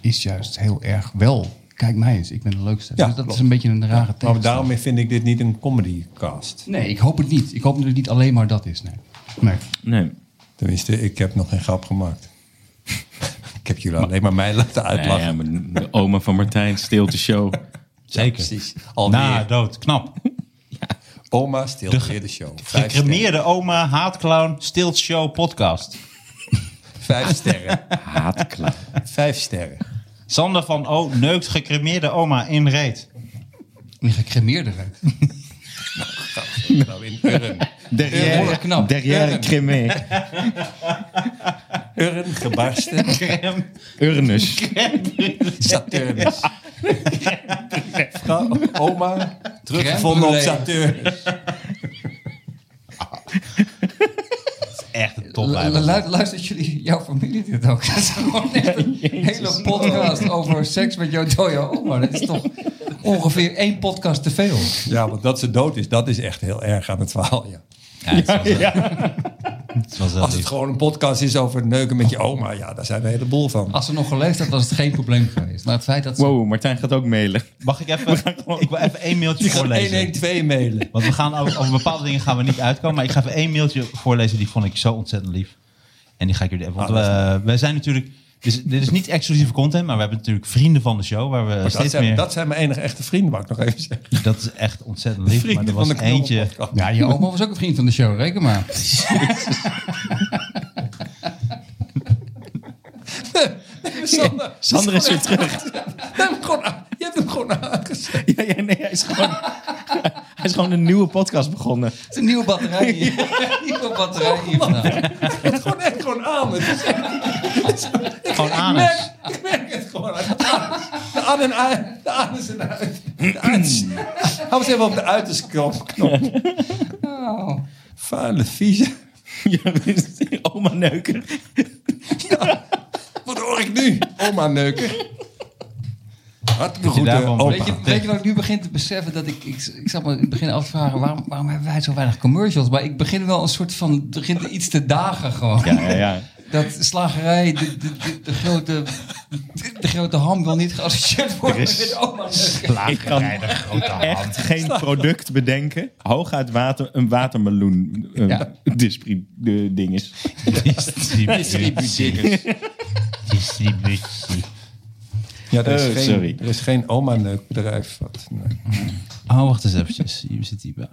Speaker 6: is juist heel erg wel. Kijk mij eens, ik ben de leukste.
Speaker 3: Ja,
Speaker 6: dus dat
Speaker 3: klopt.
Speaker 6: is een beetje een rare tegenstelling.
Speaker 3: Maar daarom vind ik dit niet een comedycast.
Speaker 6: Nee, ik hoop het niet. Ik hoop dat het niet alleen maar dat is. Nee. nee.
Speaker 5: nee.
Speaker 3: Tenminste, ik heb nog geen grap gemaakt. (laughs) ik heb jullie alleen maar mij laten
Speaker 5: Nee,
Speaker 3: uitlachen.
Speaker 5: ja, maar de oma van Martijn steelt de show.
Speaker 2: Zeker.
Speaker 3: Precies. Alweer.
Speaker 2: Na
Speaker 5: (laughs)
Speaker 2: dood. Knap.
Speaker 3: Oma stil
Speaker 2: De
Speaker 3: de,
Speaker 2: ge-
Speaker 3: de show. Vijf sterren.
Speaker 2: Gecremeerde oma, haatclown, stilt show, podcast.
Speaker 3: Vijf sterren.
Speaker 5: Haatklaar.
Speaker 3: Vijf sterren.
Speaker 2: Sander van O neukt gecremeerde oma
Speaker 5: (laughs)
Speaker 2: in reet.
Speaker 6: Een gecremeerde ruikt.
Speaker 3: Nou, in Urn.
Speaker 6: Behoorlijk knap.
Speaker 5: derrière Crimée.
Speaker 3: Urn, gebarsten.
Speaker 5: Urnus.
Speaker 3: Saturnus. Vrouw, oma, teruggevonden op
Speaker 6: Crème
Speaker 3: Saturnus.
Speaker 2: Echt een
Speaker 6: Lu-
Speaker 2: toplijst.
Speaker 6: lu- Luistert jullie, jouw familie dit ook? (laughs) Dat is gewoon echt een hele podcast over seks met jouw dode oma. Dat
Speaker 3: (laughs)
Speaker 6: is toch ongeveer één podcast te veel.
Speaker 3: Ja, want dat ze dood is, dat is echt heel erg aan het verhaal. Ja.
Speaker 2: (laughs) Het was wel
Speaker 3: Als het
Speaker 2: lief.
Speaker 3: gewoon een podcast is over neuken met je oma, ja, daar zijn we een heleboel van.
Speaker 6: Als ze nog geleefd had, was het geen probleem geweest. Maar het feit dat ze...
Speaker 5: Wow, Martijn gaat ook mailen.
Speaker 2: Mag ik even, ik wil even één
Speaker 3: (laughs)
Speaker 2: mailtje
Speaker 3: Die gaan
Speaker 2: voorlezen.
Speaker 3: 112 mailen.
Speaker 2: Want we gaan over, over bepaalde dingen gaan we niet uitkomen. Maar ik ga even één mailtje voorlezen. Die vond ik zo ontzettend lief. En die ga ik jullie even... Want
Speaker 3: Ah, dat is
Speaker 2: we- wij zijn natuurlijk Dus dit is niet exclusieve content, maar we hebben natuurlijk vrienden van de show. Waar we
Speaker 3: Oh, dat,
Speaker 2: steeds
Speaker 3: zijn,
Speaker 2: meer...
Speaker 3: dat zijn mijn enige echte vrienden, mag ik nog even zeggen. (laughs)
Speaker 2: Dat is echt ontzettend lief. maar
Speaker 3: Vrienden
Speaker 2: er
Speaker 3: van
Speaker 2: was
Speaker 3: de Knol
Speaker 2: eentje.
Speaker 3: podcast.
Speaker 6: Ja, je oma was ook een vriend van de show, reken (laughs) maar.
Speaker 3: Sander,
Speaker 5: Sander is weer terug.
Speaker 3: je hebt hem gewoon aan- je hebt hem gewoon aangezet.
Speaker 5: Ja, ja, nee, hij is, gewoon, hij is gewoon een nieuwe podcast begonnen.
Speaker 6: Het is een nieuwe batterij (laughs) hier. nieuwe batterij hier vandaag.
Speaker 3: Je hebt het gewoon echt gewoon aan. Het is echt-
Speaker 2: Gewoon
Speaker 3: ik,
Speaker 2: aan.
Speaker 3: merk, ik merk het gewoon. aan. De aan en uit. De aan is en uit. De uit. Hou eens even op de uiterste knop. knop.
Speaker 6: Oh.
Speaker 3: Vuile, vieze.
Speaker 5: Ja, dus die oma neuken.
Speaker 3: Wat hoor ik nu? Oma neuken. Hartelijk goed,
Speaker 2: daarvan
Speaker 3: eh,
Speaker 2: weet
Speaker 3: opa.
Speaker 6: Weet
Speaker 2: (laughs)
Speaker 6: je, weet je wat ik nu begin te beseffen? Dat ik, ik, ik zat me in het begin af te vragen, waarom, waarom hebben wij zo weinig commercials? Maar ik begin wel een soort van, begint iets te dagen gewoon.
Speaker 5: Ja, ja.
Speaker 6: Dat slagerij, de, de, de, de grote, de, de grote ham wil niet geassocieerd worden
Speaker 5: Er is-
Speaker 6: met oma neuken.
Speaker 5: Ik kan
Speaker 3: (laughs)
Speaker 5: echt geen product bedenken. Hooguit water, een watermeloen eh,
Speaker 6: Ja.
Speaker 5: dispri- eh, ding is.
Speaker 2: Distributie. Distributie.
Speaker 3: Ja, er is,
Speaker 5: Eh,
Speaker 3: geen,
Speaker 5: sorry.
Speaker 3: er is geen oma neukbedrijf. Wat, nee.
Speaker 2: Oh, wacht eens eventjes. Hier zit hierbij.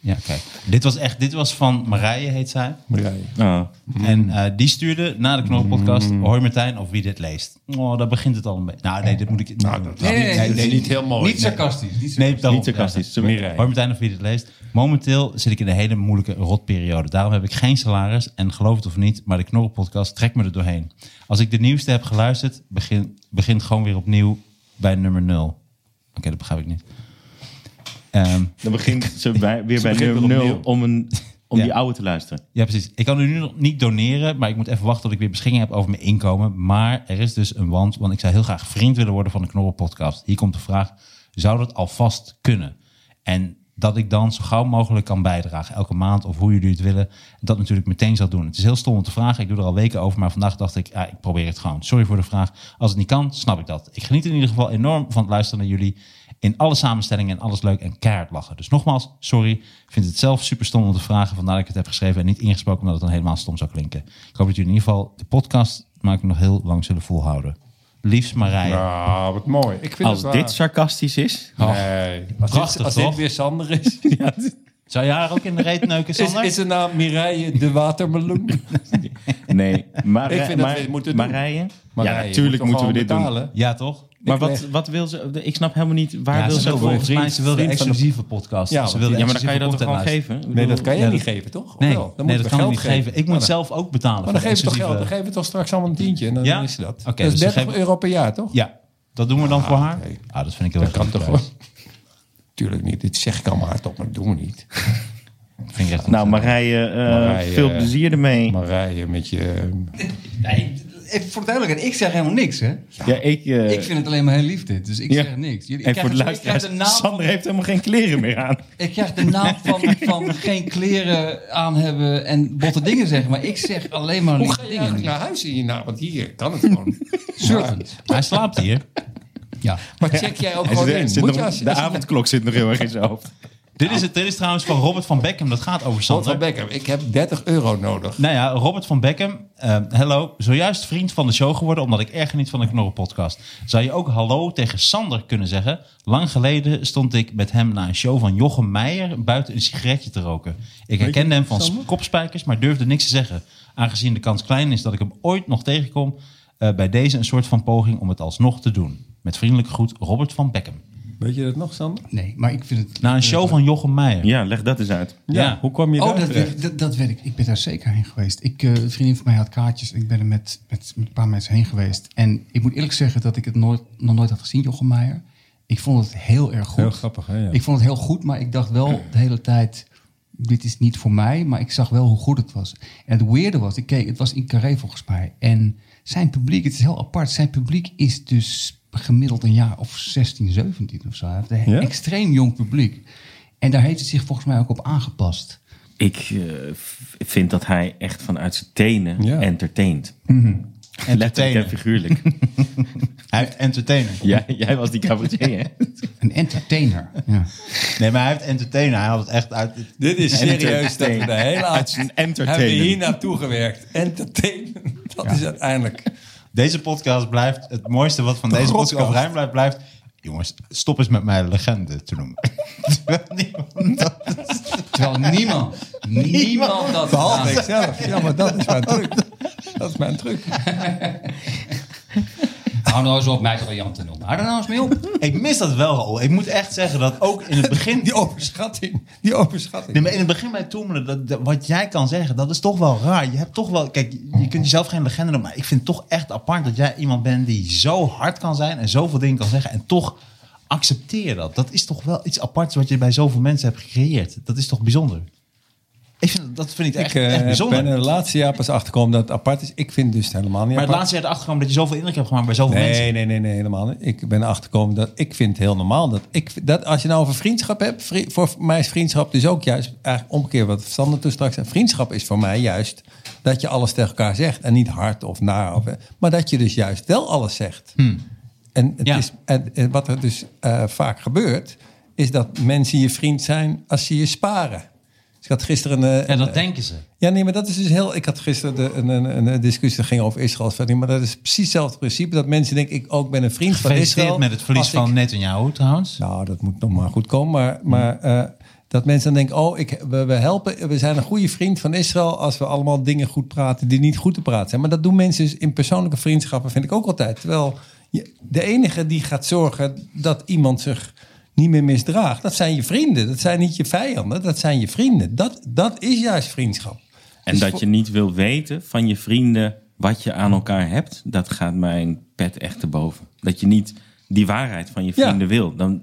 Speaker 2: Ja, kijk. Dit was echt, dit was van Marije, heet zij.
Speaker 3: Marije.
Speaker 5: Ah.
Speaker 2: En eh, die stuurde na de Knorrenpodcast, hoi Martijn, of wie dit leest. Oh, daar begint het al een beetje. Nou, nee, dit moet ik... Nou, dat
Speaker 6: Nee, nee, nee,
Speaker 3: is niet heel mooi.
Speaker 6: Niet sarcastisch. Niet
Speaker 2: Nee, daarom.
Speaker 5: Niet sarcastisch.
Speaker 2: Ja,
Speaker 5: Sorry.
Speaker 2: Hoi Martijn of wie dit leest. Momenteel zit ik in een hele moeilijke rotperiode. Daarom heb ik geen salaris en geloof het of niet, maar de Knorrelpodcast trekt me er doorheen. Als ik de nieuwste heb geluisterd, begin, begint gewoon weer opnieuw bij nummer 0. Oké, dat begrijp ik niet. Ehm,
Speaker 5: (laughs) Dan begint ze bij, weer bij
Speaker 3: begint
Speaker 5: nummer
Speaker 3: weer
Speaker 5: nul
Speaker 3: opnieuw.
Speaker 5: om, een, om
Speaker 2: Ja.
Speaker 5: die oude te luisteren.
Speaker 2: ja, precies. Ik kan er nu nog niet doneren, maar ik moet even wachten tot ik weer beschikking heb over mijn inkomen. Maar er is dus een want, want ik zou heel graag vriend willen worden van de Knorrelpodcast. Hier komt de vraag, zou dat alvast kunnen? En dat ik dan zo gauw mogelijk kan bijdragen, elke maand of hoe jullie het willen. Dat natuurlijk meteen zal doen. Het is heel stom om te vragen, ik doe er al weken over, maar vandaag dacht ik, ah, ik probeer het gewoon. Sorry voor de vraag. Als het niet kan, snap ik dat. Ik geniet in ieder geval enorm van het luisteren naar jullie. In alle samenstellingen en alles leuk en keihard lachen. Dus nogmaals, sorry. Ik vind het zelf super stom om te vragen. Vandaar dat ik het heb geschreven en niet ingesproken, omdat het dan helemaal stom zou klinken. Ik hoop dat jullie in ieder geval de podcast maak ik nog heel lang zullen volhouden. Liefst Marije.
Speaker 3: Nou, wat mooi. Ik vind
Speaker 5: Als
Speaker 3: het
Speaker 5: dit sarcastisch is.
Speaker 3: Nee. Als,
Speaker 2: Prachtig,
Speaker 3: dit, als dit
Speaker 2: toch?
Speaker 3: weer Sander
Speaker 2: (laughs)
Speaker 3: is.
Speaker 2: Zou jij haar ook in de reet neuken,
Speaker 3: Is,
Speaker 2: Sander?
Speaker 3: is de naam Mireille de Watermeloen?
Speaker 5: Nee. Maar,
Speaker 3: Ik vind dat
Speaker 5: maar-
Speaker 3: we dit moeten doen.
Speaker 5: Marije?
Speaker 3: Marije,
Speaker 5: ja,
Speaker 3: je
Speaker 5: natuurlijk
Speaker 3: moet
Speaker 5: moeten we
Speaker 3: toch
Speaker 5: dit
Speaker 3: gewoon
Speaker 5: doen.
Speaker 3: betalen?
Speaker 2: Ja, toch?
Speaker 5: Maar
Speaker 3: Ik
Speaker 5: wat,
Speaker 3: leg-
Speaker 5: wat wil ze... Ik snap helemaal niet... Waar
Speaker 2: Ja,
Speaker 5: wil
Speaker 2: ze
Speaker 5: ze...
Speaker 2: wil
Speaker 5: voor-
Speaker 2: volgens mij, ze wilde
Speaker 3: vriend van de-
Speaker 2: exclusieve podcast. ze
Speaker 3: Ja, want-
Speaker 2: wilde
Speaker 5: Ja, maar dan kan je dat toch
Speaker 2: exclusieve
Speaker 5: gewoon
Speaker 2: content
Speaker 5: geven? Ik
Speaker 3: Nee, dat
Speaker 5: bedoel-
Speaker 3: kan jij
Speaker 2: Ja,
Speaker 3: niet
Speaker 2: dat-
Speaker 3: geven, toch? Of
Speaker 2: luisteren.
Speaker 3: wel?
Speaker 2: Nee, nee
Speaker 3: moet
Speaker 2: dat
Speaker 3: ik
Speaker 2: kan ik niet
Speaker 3: geld
Speaker 2: geven. Ik moet
Speaker 3: Maar dan-
Speaker 2: zelf ook betalen.
Speaker 3: Maar
Speaker 2: voor
Speaker 3: dan geef je toch geld. Dan
Speaker 2: exclusieve-
Speaker 3: geven we toch straks allemaal een tientje. En dan
Speaker 2: Ja?
Speaker 3: is dat.
Speaker 2: Oké,
Speaker 3: dat is
Speaker 2: dus
Speaker 3: 30
Speaker 2: geef-
Speaker 3: euro per jaar, toch?
Speaker 2: Ja, dat doen we dan voor haar. Ah, dat vind ik heel erg
Speaker 3: kan
Speaker 2: goed
Speaker 3: toch
Speaker 2: prijs.
Speaker 3: wel. Tuurlijk niet. Dit zeg ik allemaal hardop, maar dat doen we niet.
Speaker 2: Dat vind ik echt
Speaker 5: Nou,
Speaker 2: ontzettend.
Speaker 5: Marije, eh,
Speaker 3: Marije,
Speaker 5: veel
Speaker 3: eh,
Speaker 5: plezier ermee.
Speaker 3: Marije, met je...
Speaker 6: Nee, even voor de duidelijkheid, ik zeg helemaal niks, hè?
Speaker 5: ja, ik, eh,
Speaker 6: Ik vind het alleen maar heel lief dit, dus ik
Speaker 5: Ja.
Speaker 6: zeg niks. Jullie, ik,
Speaker 5: en voor
Speaker 6: krijg,
Speaker 5: de
Speaker 6: ik krijg
Speaker 5: luisteraars,
Speaker 6: de naam,
Speaker 5: Sander heeft helemaal geen kleren meer aan.
Speaker 6: ik krijg de naam van, van geen kleren aan hebben en botte dingen zeggen, maar ik zeg alleen maar
Speaker 3: Hoe
Speaker 6: lieve
Speaker 3: ga je
Speaker 6: dingen.
Speaker 3: eigenlijk naar huis in je naam? Want hier kan het gewoon.
Speaker 6: Surfend.
Speaker 2: Hij slaapt hier.
Speaker 6: Ja.
Speaker 3: Maar check jij ook gewoon
Speaker 5: Hij zit-
Speaker 3: in?
Speaker 5: zit
Speaker 3: Moet
Speaker 5: nog-
Speaker 3: je als je...
Speaker 5: de
Speaker 3: als je-
Speaker 5: avondklok zit nog heel erg in zijn hoofd.
Speaker 2: Dit is, het, dit is trouwens van Robert van Beckham. Dat gaat over
Speaker 3: Tot
Speaker 2: Sander.
Speaker 3: van Beckham, ik heb 30 euro nodig.
Speaker 2: Nou ja, Robert van Beckham. eh, Hallo, zojuist vriend van de show geworden omdat ik erg geniet van de Knorren-podcast. Zou je ook hallo tegen Sander kunnen zeggen? Lang geleden stond ik met hem na een show van Jochem Meijer buiten een sigaretje te roken. Ik herkende hem van kopspijkers, maar durfde niks te zeggen. Aangezien de kans klein is dat ik hem ooit nog tegenkom, eh, bij deze een soort van poging om het alsnog te doen. Met vriendelijke groet, Robert van Beckham.
Speaker 3: Weet je dat nog, Sander?
Speaker 6: Nee, maar ik vind het...
Speaker 2: Na een show van Jochem Meijer.
Speaker 5: Ja, leg dat eens uit.
Speaker 2: Ja.
Speaker 3: Hoe kwam je
Speaker 6: Oh,
Speaker 3: daar
Speaker 6: dat
Speaker 3: terecht?
Speaker 6: weet, dat, dat weet ik. Ik ben daar zeker heen geweest. Ik, eh, een vriendin van mij had kaartjes. Ik ben er met, met, met een paar mensen heen geweest. En ik moet eerlijk zeggen dat ik het nooit, nog nooit had gezien, Jochem Meijer. Ik vond het heel erg goed.
Speaker 3: Heel grappig, hè, ja.
Speaker 6: Ik vond het heel goed, maar ik dacht wel de hele tijd... dit is niet voor mij, maar ik zag wel hoe goed het was. En het weirde was, ik keek, het was in Carré volgens mij. En zijn publiek, het is heel apart... zijn publiek is dus gemiddeld een jaar of 16, 17 of zo. Hij heeft een
Speaker 3: Ja?
Speaker 6: extreem jong publiek. En daar heeft het zich volgens mij ook op aangepast...
Speaker 5: Ik eh, v- vind dat hij echt vanuit zijn tenen
Speaker 3: Ja.
Speaker 5: entertaint. Letterlijk en figuurlijk.
Speaker 2: Hij heeft entertainer.
Speaker 5: jij, jij was die
Speaker 3: (laughs)
Speaker 5: cabaretier, hè?
Speaker 6: Een entertainer. Ja.
Speaker 2: Nee, maar hij heeft entertainer. Hij had het echt uit...
Speaker 3: Dit is serieus dat we de hele
Speaker 5: Het is
Speaker 3: avond
Speaker 5: een
Speaker 3: hebben
Speaker 5: entertainer.
Speaker 3: (laughs) hier naartoe gewerkt. Entertainment, dat is uiteindelijk
Speaker 2: Deze podcast blijft het mooiste wat van deze podcast
Speaker 3: Godkast.
Speaker 2: overeind blijft, blijft. Jongens, stop eens met mij legende te noemen. (laughs) Terwijl niemand dat-
Speaker 6: Terwijl niemand, niemand dat gedaan
Speaker 3: Behalve
Speaker 6: heeft.
Speaker 3: ikzelf. Ja, maar dat is mijn truc. Dat is mijn truc.
Speaker 6: Hou nou eens op mij toch wel Jan te noemen. Hou er nou eens mee op.
Speaker 2: Ik mis dat wel, Raoul. Ik moet echt zeggen dat ook in het begin...
Speaker 3: Die overschatting. Die overschatting.
Speaker 2: Nee, maar in het begin bij Toemelen, dat, dat- wat jij kan zeggen, dat is toch wel raar. Je hebt toch wel, kijk, je kunt jezelf geen legende noemen, maar ik vind het toch echt apart dat jij iemand bent die zo hard kan zijn en zoveel dingen kan zeggen en toch accepteer dat. Dat is toch wel iets aparts wat je bij zoveel mensen hebt gecreëerd. Dat is toch bijzonder? Ik vind, dat vind ik echt,
Speaker 3: Ik eh,
Speaker 2: echt bijzonder.
Speaker 3: ben er de laatste jaar pas achterkomen dat het apart is. Ik vind het dus helemaal
Speaker 2: maar
Speaker 3: niet
Speaker 2: het
Speaker 3: apart.
Speaker 2: laatste jaar erachter kwam dat je zoveel indruk hebt gemaakt bij zoveel mensen.
Speaker 3: Nee, nee, nee, nee, helemaal niet. Ik ben achterkomen dat ik vind het heel normaal. Dat ik, dat als je nou over vriendschap hebt, vri- voor mij is vriendschap dus ook juist, eigenlijk omgekeerd wat Sander toen straks zei. Vriendschap is voor mij juist dat je alles tegen elkaar zegt. En niet hard of na, of, eh, maar dat je dus juist wel alles zegt. En, het
Speaker 2: Hmm. Ja.
Speaker 3: is, en, en wat er dus eh, vaak gebeurt, is dat mensen je vriend zijn als ze je sparen. Dus ik had gisteren een, eh,
Speaker 6: En dat denken ze.
Speaker 3: ja, nee, maar dat is dus heel. Ik had gisteren de, een, een, een discussie die ging over Israël. verder, Maar dat is precies hetzelfde principe. Dat mensen denken: ik ook ben een vriend van Israël.
Speaker 2: Gefeliciteerd met het verlies
Speaker 3: Als ik-
Speaker 2: van Netanyahu trouwens.
Speaker 3: nou, dat moet nog maar goed komen. Maar, maar
Speaker 2: Hmm.
Speaker 3: eh, dat mensen dan denken: oh, ik, we, we helpen. We zijn een goede vriend van Israël. als we allemaal dingen goed praten die niet goed te praten zijn. Maar dat doen mensen dus in persoonlijke vriendschappen, vind ik ook altijd. Terwijl je- de enige die gaat zorgen dat iemand zich niet meer misdraagt, dat zijn je vrienden. Dat zijn niet je vijanden, dat zijn je vrienden. Dat, dat is juist vriendschap.
Speaker 5: En dat je niet wil weten van je vrienden wat je aan elkaar hebt, dat gaat mijn pet echt te boven. Dat je niet die waarheid van je
Speaker 3: Ja.
Speaker 5: vrienden wil. Dan,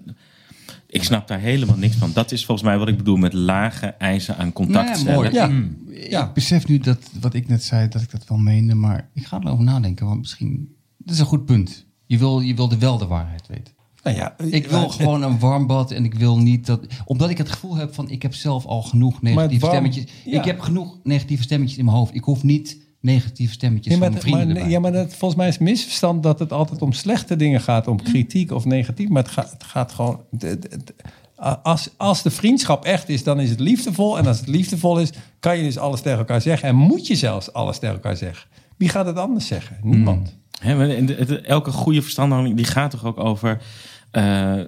Speaker 5: ik snap daar helemaal niks van. Dat is volgens mij wat ik bedoel met lage eisen aan contact
Speaker 6: Nee,
Speaker 5: stellen.
Speaker 6: mooi.
Speaker 3: Ja.
Speaker 2: Hmm.
Speaker 6: Ja. Ik besef nu dat wat ik net zei, dat ik dat wel meende. Maar ik ga erover nadenken, want misschien... Dat is een goed punt. Je wil, je wil de wel de waarheid weten.
Speaker 3: Nou ja,
Speaker 6: Ik wil
Speaker 3: maar-
Speaker 6: gewoon een warm bad en ik wil niet dat... Omdat ik het gevoel heb van, ik heb zelf al genoeg
Speaker 3: Maar
Speaker 6: negatieve
Speaker 3: warm-
Speaker 6: stemmetjes.
Speaker 3: ja.
Speaker 6: Ik heb genoeg negatieve stemmetjes in mijn hoofd. Ik hoef niet negatieve stemmetjes
Speaker 3: Nee, maar,
Speaker 6: van mijn
Speaker 3: maar-
Speaker 6: vrienden erbij.
Speaker 3: ja, maar dat, volgens mij is het misverstand dat het altijd om slechte dingen gaat, om kritiek of negatief. Maar het gaat, het gaat gewoon. de- de- de- als, als de vriendschap echt is, dan is het liefdevol. En als het liefdevol is, kan je dus alles tegen elkaar zeggen. En moet je zelfs alles tegen elkaar zeggen. Wie gaat het anders zeggen? Niemand.
Speaker 5: Hè, maar en de- het- elke goede verstandhouding die gaat toch ook over eh, eh,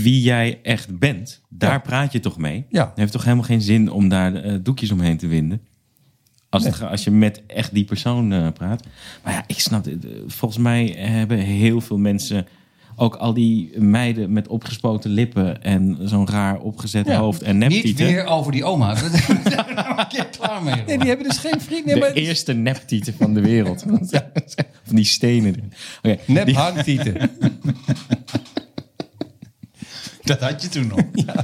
Speaker 5: wie jij echt bent. Daar
Speaker 3: Ja.
Speaker 5: praat je toch mee?
Speaker 3: Ja.
Speaker 5: Het heeft toch helemaal geen zin om daar eh, doekjes omheen te winden? Als, het, ga- als je met echt die persoon eh, praat. Maar ja, ik snap het. Eh, Volgens mij hebben heel veel mensen... ook al die meiden met opgespoten lippen... en zo'n raar opgezet
Speaker 3: Ja.
Speaker 5: hoofd en
Speaker 6: Niet
Speaker 5: neptieten...
Speaker 6: weer over die oma. (laughs) We zijn er nog een keer klaar mee.
Speaker 3: Nee,
Speaker 6: hoor.
Speaker 3: die hebben dus geen vrienden.
Speaker 5: De
Speaker 3: Nee, maar-
Speaker 5: eerste neptieten van de
Speaker 3: (laughs)
Speaker 5: wereld. Van die stenen erin. Oké,
Speaker 3: Nep
Speaker 5: die-
Speaker 3: hangtieten.
Speaker 2: Dat had je toen
Speaker 3: (laughs)
Speaker 2: nog.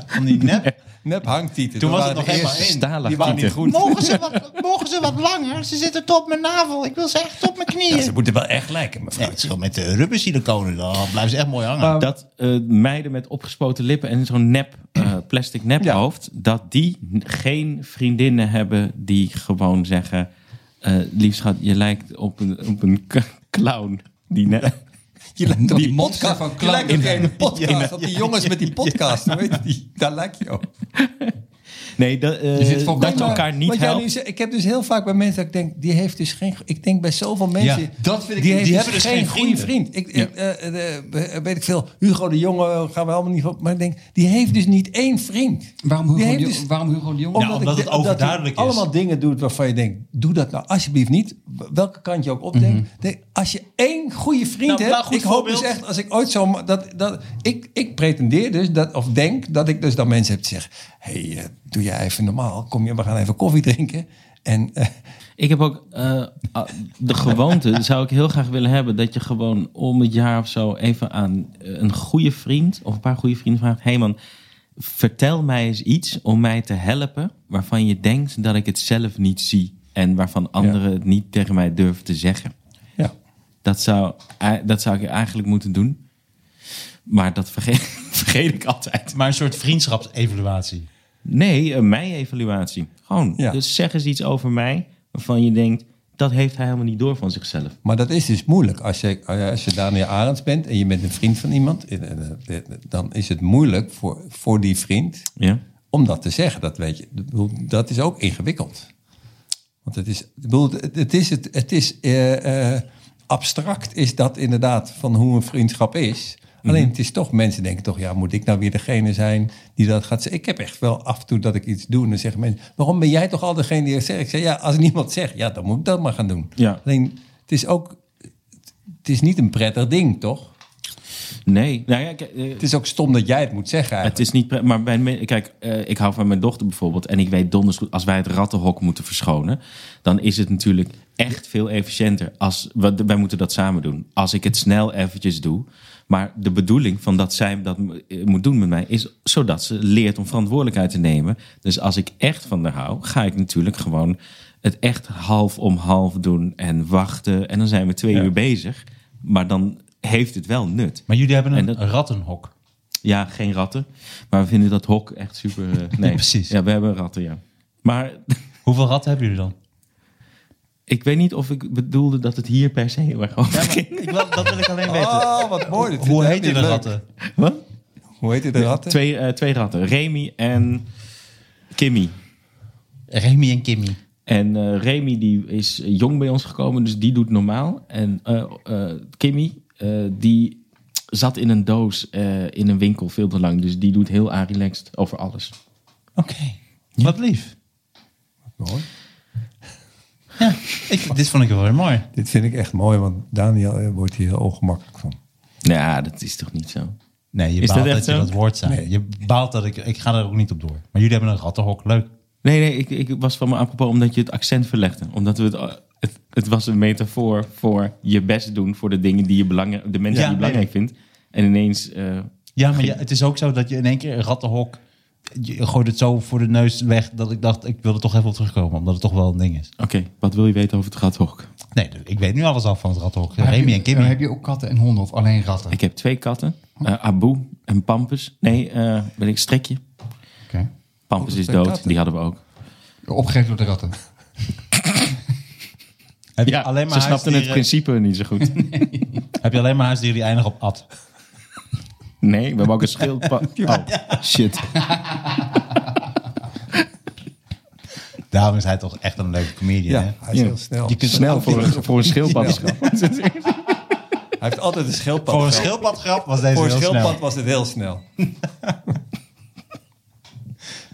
Speaker 2: Van die nep.
Speaker 3: Nep hangtieten.
Speaker 2: Toen
Speaker 3: Dat
Speaker 2: was het nog
Speaker 3: waren de
Speaker 2: helemaal
Speaker 3: eerste-
Speaker 2: in.
Speaker 5: stalactieten.
Speaker 2: Die waren niet goed. Mogen ze, wat, mogen ze wat langer? Ze zitten tot mijn navel. Ik wil ze echt tot mijn knieën.
Speaker 3: Ja, ze moeten wel echt lijken, mevrouw.
Speaker 2: Nee, het scheelt met de rubber siliconen. Dan blijven ze echt mooi hangen.
Speaker 6: Ehm,
Speaker 5: dat eh, meiden met opgespoten lippen en zo'n nep,
Speaker 6: (clears throat)
Speaker 5: eh, plastic nephoofd, dat die n- geen vriendinnen hebben die gewoon zeggen: eh liefst schat, je lijkt op een, op een k- clown. Die ne-
Speaker 3: Je lijkt op
Speaker 6: Die podcast van
Speaker 3: Je lijkt
Speaker 6: Clown.
Speaker 3: op die ene podcast. Op die jongens met die podcast. Weet je die? Daar lijk je op.
Speaker 5: nee, dat, eh,
Speaker 6: Je zit volkomen-
Speaker 5: dat je elkaar niet
Speaker 3: Wat jij nu
Speaker 5: helpt.
Speaker 3: zegt, ik heb dus heel vaak bij mensen dat ik denk, die heeft dus geen. Ik denk bij zoveel mensen.
Speaker 2: Ja,
Speaker 6: dat vind ik-
Speaker 3: die, heeft
Speaker 2: die
Speaker 3: dus
Speaker 2: hebben dus
Speaker 3: geen
Speaker 2: geen
Speaker 3: goede
Speaker 2: vrienden.
Speaker 3: vriend. Ik, ik, eh, eh, eh, weet ik veel. Hugo de Jonge eh, gaan we allemaal niet op. Maar ik denk, die heeft dus niet één vriend.
Speaker 6: Waarom
Speaker 3: Die
Speaker 6: Hugo,
Speaker 3: heeft
Speaker 6: de,
Speaker 3: dus-
Speaker 6: Jong- waarom Hugo de Jong?
Speaker 2: Nou, omdat
Speaker 3: ik
Speaker 2: het
Speaker 3: de- omdat hij
Speaker 2: overduidelijk is.
Speaker 3: allemaal dingen doet waarvan je denkt, doe dat nou alsjeblieft niet. Welke kant je ook opdenkt.
Speaker 2: Mhm.
Speaker 3: Denk, als je één goede vriend
Speaker 2: Nou, wel
Speaker 3: hebt.
Speaker 2: goed
Speaker 3: ik hoop
Speaker 2: voorbeeld.
Speaker 3: dus echt, als ik ooit zo... Dat, dat, ik, ik pretendeer dus, dat, of denk, dat ik dus dan mensen heb die zeggen... hey, eh, doe jij even normaal. Kom je, we gaan even koffie drinken. En eh, (laughs)
Speaker 5: Ik heb ook eh, ah, de gewoonte, zou ik heel graag willen hebben, dat je gewoon om het jaar of zo even aan eh, een goede vriend of een paar goede vrienden vraagt: Hé hey man, vertel mij eens iets om mij te helpen waarvan je denkt dat ik het zelf niet zie en waarvan anderen het niet tegen mij durven te zeggen.
Speaker 3: ja,
Speaker 5: Dat zou, eh, dat zou ik eigenlijk moeten doen, maar dat vergeet, (laughs) vergeet ik altijd.
Speaker 2: Maar een soort vriendschapsevaluatie.
Speaker 5: Nee, eh, mijn evaluatie. Gewoon.
Speaker 3: Ja.
Speaker 5: Dus zeg eens iets over mij waarvan je denkt. Dat heeft hij helemaal niet door van zichzelf.
Speaker 3: maar dat is dus moeilijk. Als je, als je Daniel Arends bent en je bent een vriend van iemand... eh, eh, eh, dan is het moeilijk voor, voor die vriend...
Speaker 5: Ja.
Speaker 3: om dat te zeggen. Dat weet je. Ik bedoel, Dat is ook ingewikkeld. Want het is, ik bedoel, het het is, het, het is eh, eh, abstract is dat inderdaad van hoe een vriendschap is. Alleen het is toch, mensen denken toch, ja, moet ik nou weer degene zijn die dat gaat zeggen? Ik heb echt wel af en toe dat ik iets doe en dan zeggen mensen, waarom ben jij toch al degene die dat zegt? Ik zeg, ja, als niemand zegt, ja, dan moet ik dat maar gaan doen.
Speaker 5: Ja.
Speaker 3: Alleen, het is ook, het is niet een prettig ding, toch?
Speaker 5: Nee. Nou ja, kijk, eh,
Speaker 3: Het is ook stom dat jij het moet zeggen
Speaker 5: het
Speaker 3: eigenlijk.
Speaker 5: is niet... pre- Maar bij, me- kijk, eh, ik hou van mijn dochter bijvoorbeeld. En ik weet donders goed, als wij het rattenhok moeten verschonen... dan is het natuurlijk echt veel efficiënter. Als, we- wij moeten dat samen doen. Als ik het snel eventjes doe... Maar de bedoeling van dat zij dat m- eh, moet doen met mij is zodat ze leert om verantwoordelijkheid te nemen. Dus als ik echt van haar hou, ga ik natuurlijk gewoon het echt half om half doen en wachten. En dan zijn we twee uur bezig. Maar dan heeft het wel nut.
Speaker 2: Maar jullie hebben een
Speaker 5: En dat-
Speaker 2: rattenhok.
Speaker 5: Ja, geen ratten. Maar we vinden dat hok echt super. eh,
Speaker 2: (laughs)
Speaker 5: nee,
Speaker 2: Precies.
Speaker 5: Ja, we hebben ratten, ja. Maar (laughs)
Speaker 2: Hoeveel ratten hebben jullie dan?
Speaker 5: ik weet niet of ik bedoelde dat het hier per se heel erg over ging. (laughs)
Speaker 2: Ik wil, dat wil ik alleen
Speaker 3: Oh, wat mooi. Dat
Speaker 2: Hoe
Speaker 3: vind
Speaker 2: heet
Speaker 3: ik
Speaker 2: die
Speaker 3: leuk.
Speaker 2: ratten?
Speaker 5: Wat?
Speaker 3: Hoe heet die de ratten?
Speaker 5: Twee, eh, twee ratten. Remy en Kimmy.
Speaker 2: Remy en Kimmy.
Speaker 5: En eh, Remy die is jong bij ons gekomen, dus die doet normaal. En eh, eh, Kimmy, eh, die zat in een doos eh, in een winkel veel te lang. Dus die doet heel aan relaxed over alles.
Speaker 2: Oké. Wat lief.
Speaker 3: Mooi.
Speaker 2: Ja, ik, dit vond ik wel weer mooi.
Speaker 3: Dit vind ik echt mooi, want Daniel eh, wordt hier heel ongemakkelijk van.
Speaker 5: Nou, dat is toch niet zo?
Speaker 2: Nee, je
Speaker 5: Is
Speaker 2: baalt
Speaker 5: dat
Speaker 2: dat,
Speaker 5: echt
Speaker 2: je
Speaker 5: zo?
Speaker 2: dat woord zei. Je baalt dat ik... Ik ga er ook niet op door. Maar jullie hebben een rattenhok. Leuk.
Speaker 5: Nee, nee, ik, ik was van me apropos omdat je het accent verlegde. Omdat we het, eh, het, het was een metafoor voor je best doen voor de dingen die je belangrijk, de mensen
Speaker 2: Ja,
Speaker 5: die je belangrijk vindt. En ineens, eh,
Speaker 2: Ja, maar ja, het is ook zo dat je in één keer een rattenhok... Je gooit het zo voor de neus weg dat ik dacht... Ik wil er toch even op terugkomen, omdat het toch wel een ding is.
Speaker 5: oké, wat wil je weten over het gathok?
Speaker 2: Nee, dus ik weet nu alles af van het rattenhok.
Speaker 6: Maar heb
Speaker 2: Remy
Speaker 6: je-
Speaker 2: en Kimmy.
Speaker 6: Heb je ook katten en honden of alleen ratten?
Speaker 5: Ik heb twee katten, eh, Abu en Pampus. Nee, eh, ben ik strekje.
Speaker 6: Oké.
Speaker 5: Pampus is
Speaker 3: twee
Speaker 5: dood,
Speaker 3: katten.
Speaker 5: die hadden we ook.
Speaker 6: Opgegeven door de ratten.
Speaker 2: Heb je,
Speaker 5: Ja,
Speaker 2: alleen maar
Speaker 5: ze snapten het
Speaker 2: huisdieren-
Speaker 5: principe niet zo goed.
Speaker 2: heb je alleen maar huisdieren die eindigen op at?
Speaker 5: Nee, we hebben ook een schildpad. Oh, shit.
Speaker 2: Daarom is hij toch echt een leuke comedian,
Speaker 3: Ja,
Speaker 2: hè?
Speaker 3: hij is
Speaker 5: Ja.
Speaker 3: heel snel.
Speaker 2: Je kunt
Speaker 5: Snel voor een, voor een schildpad.
Speaker 3: Hij heeft altijd een schildpad.
Speaker 2: Voor een
Speaker 3: gehad.
Speaker 2: schildpadgrap was deze
Speaker 3: Voor een
Speaker 2: heel
Speaker 3: schildpad
Speaker 2: snel.
Speaker 3: was het heel snel.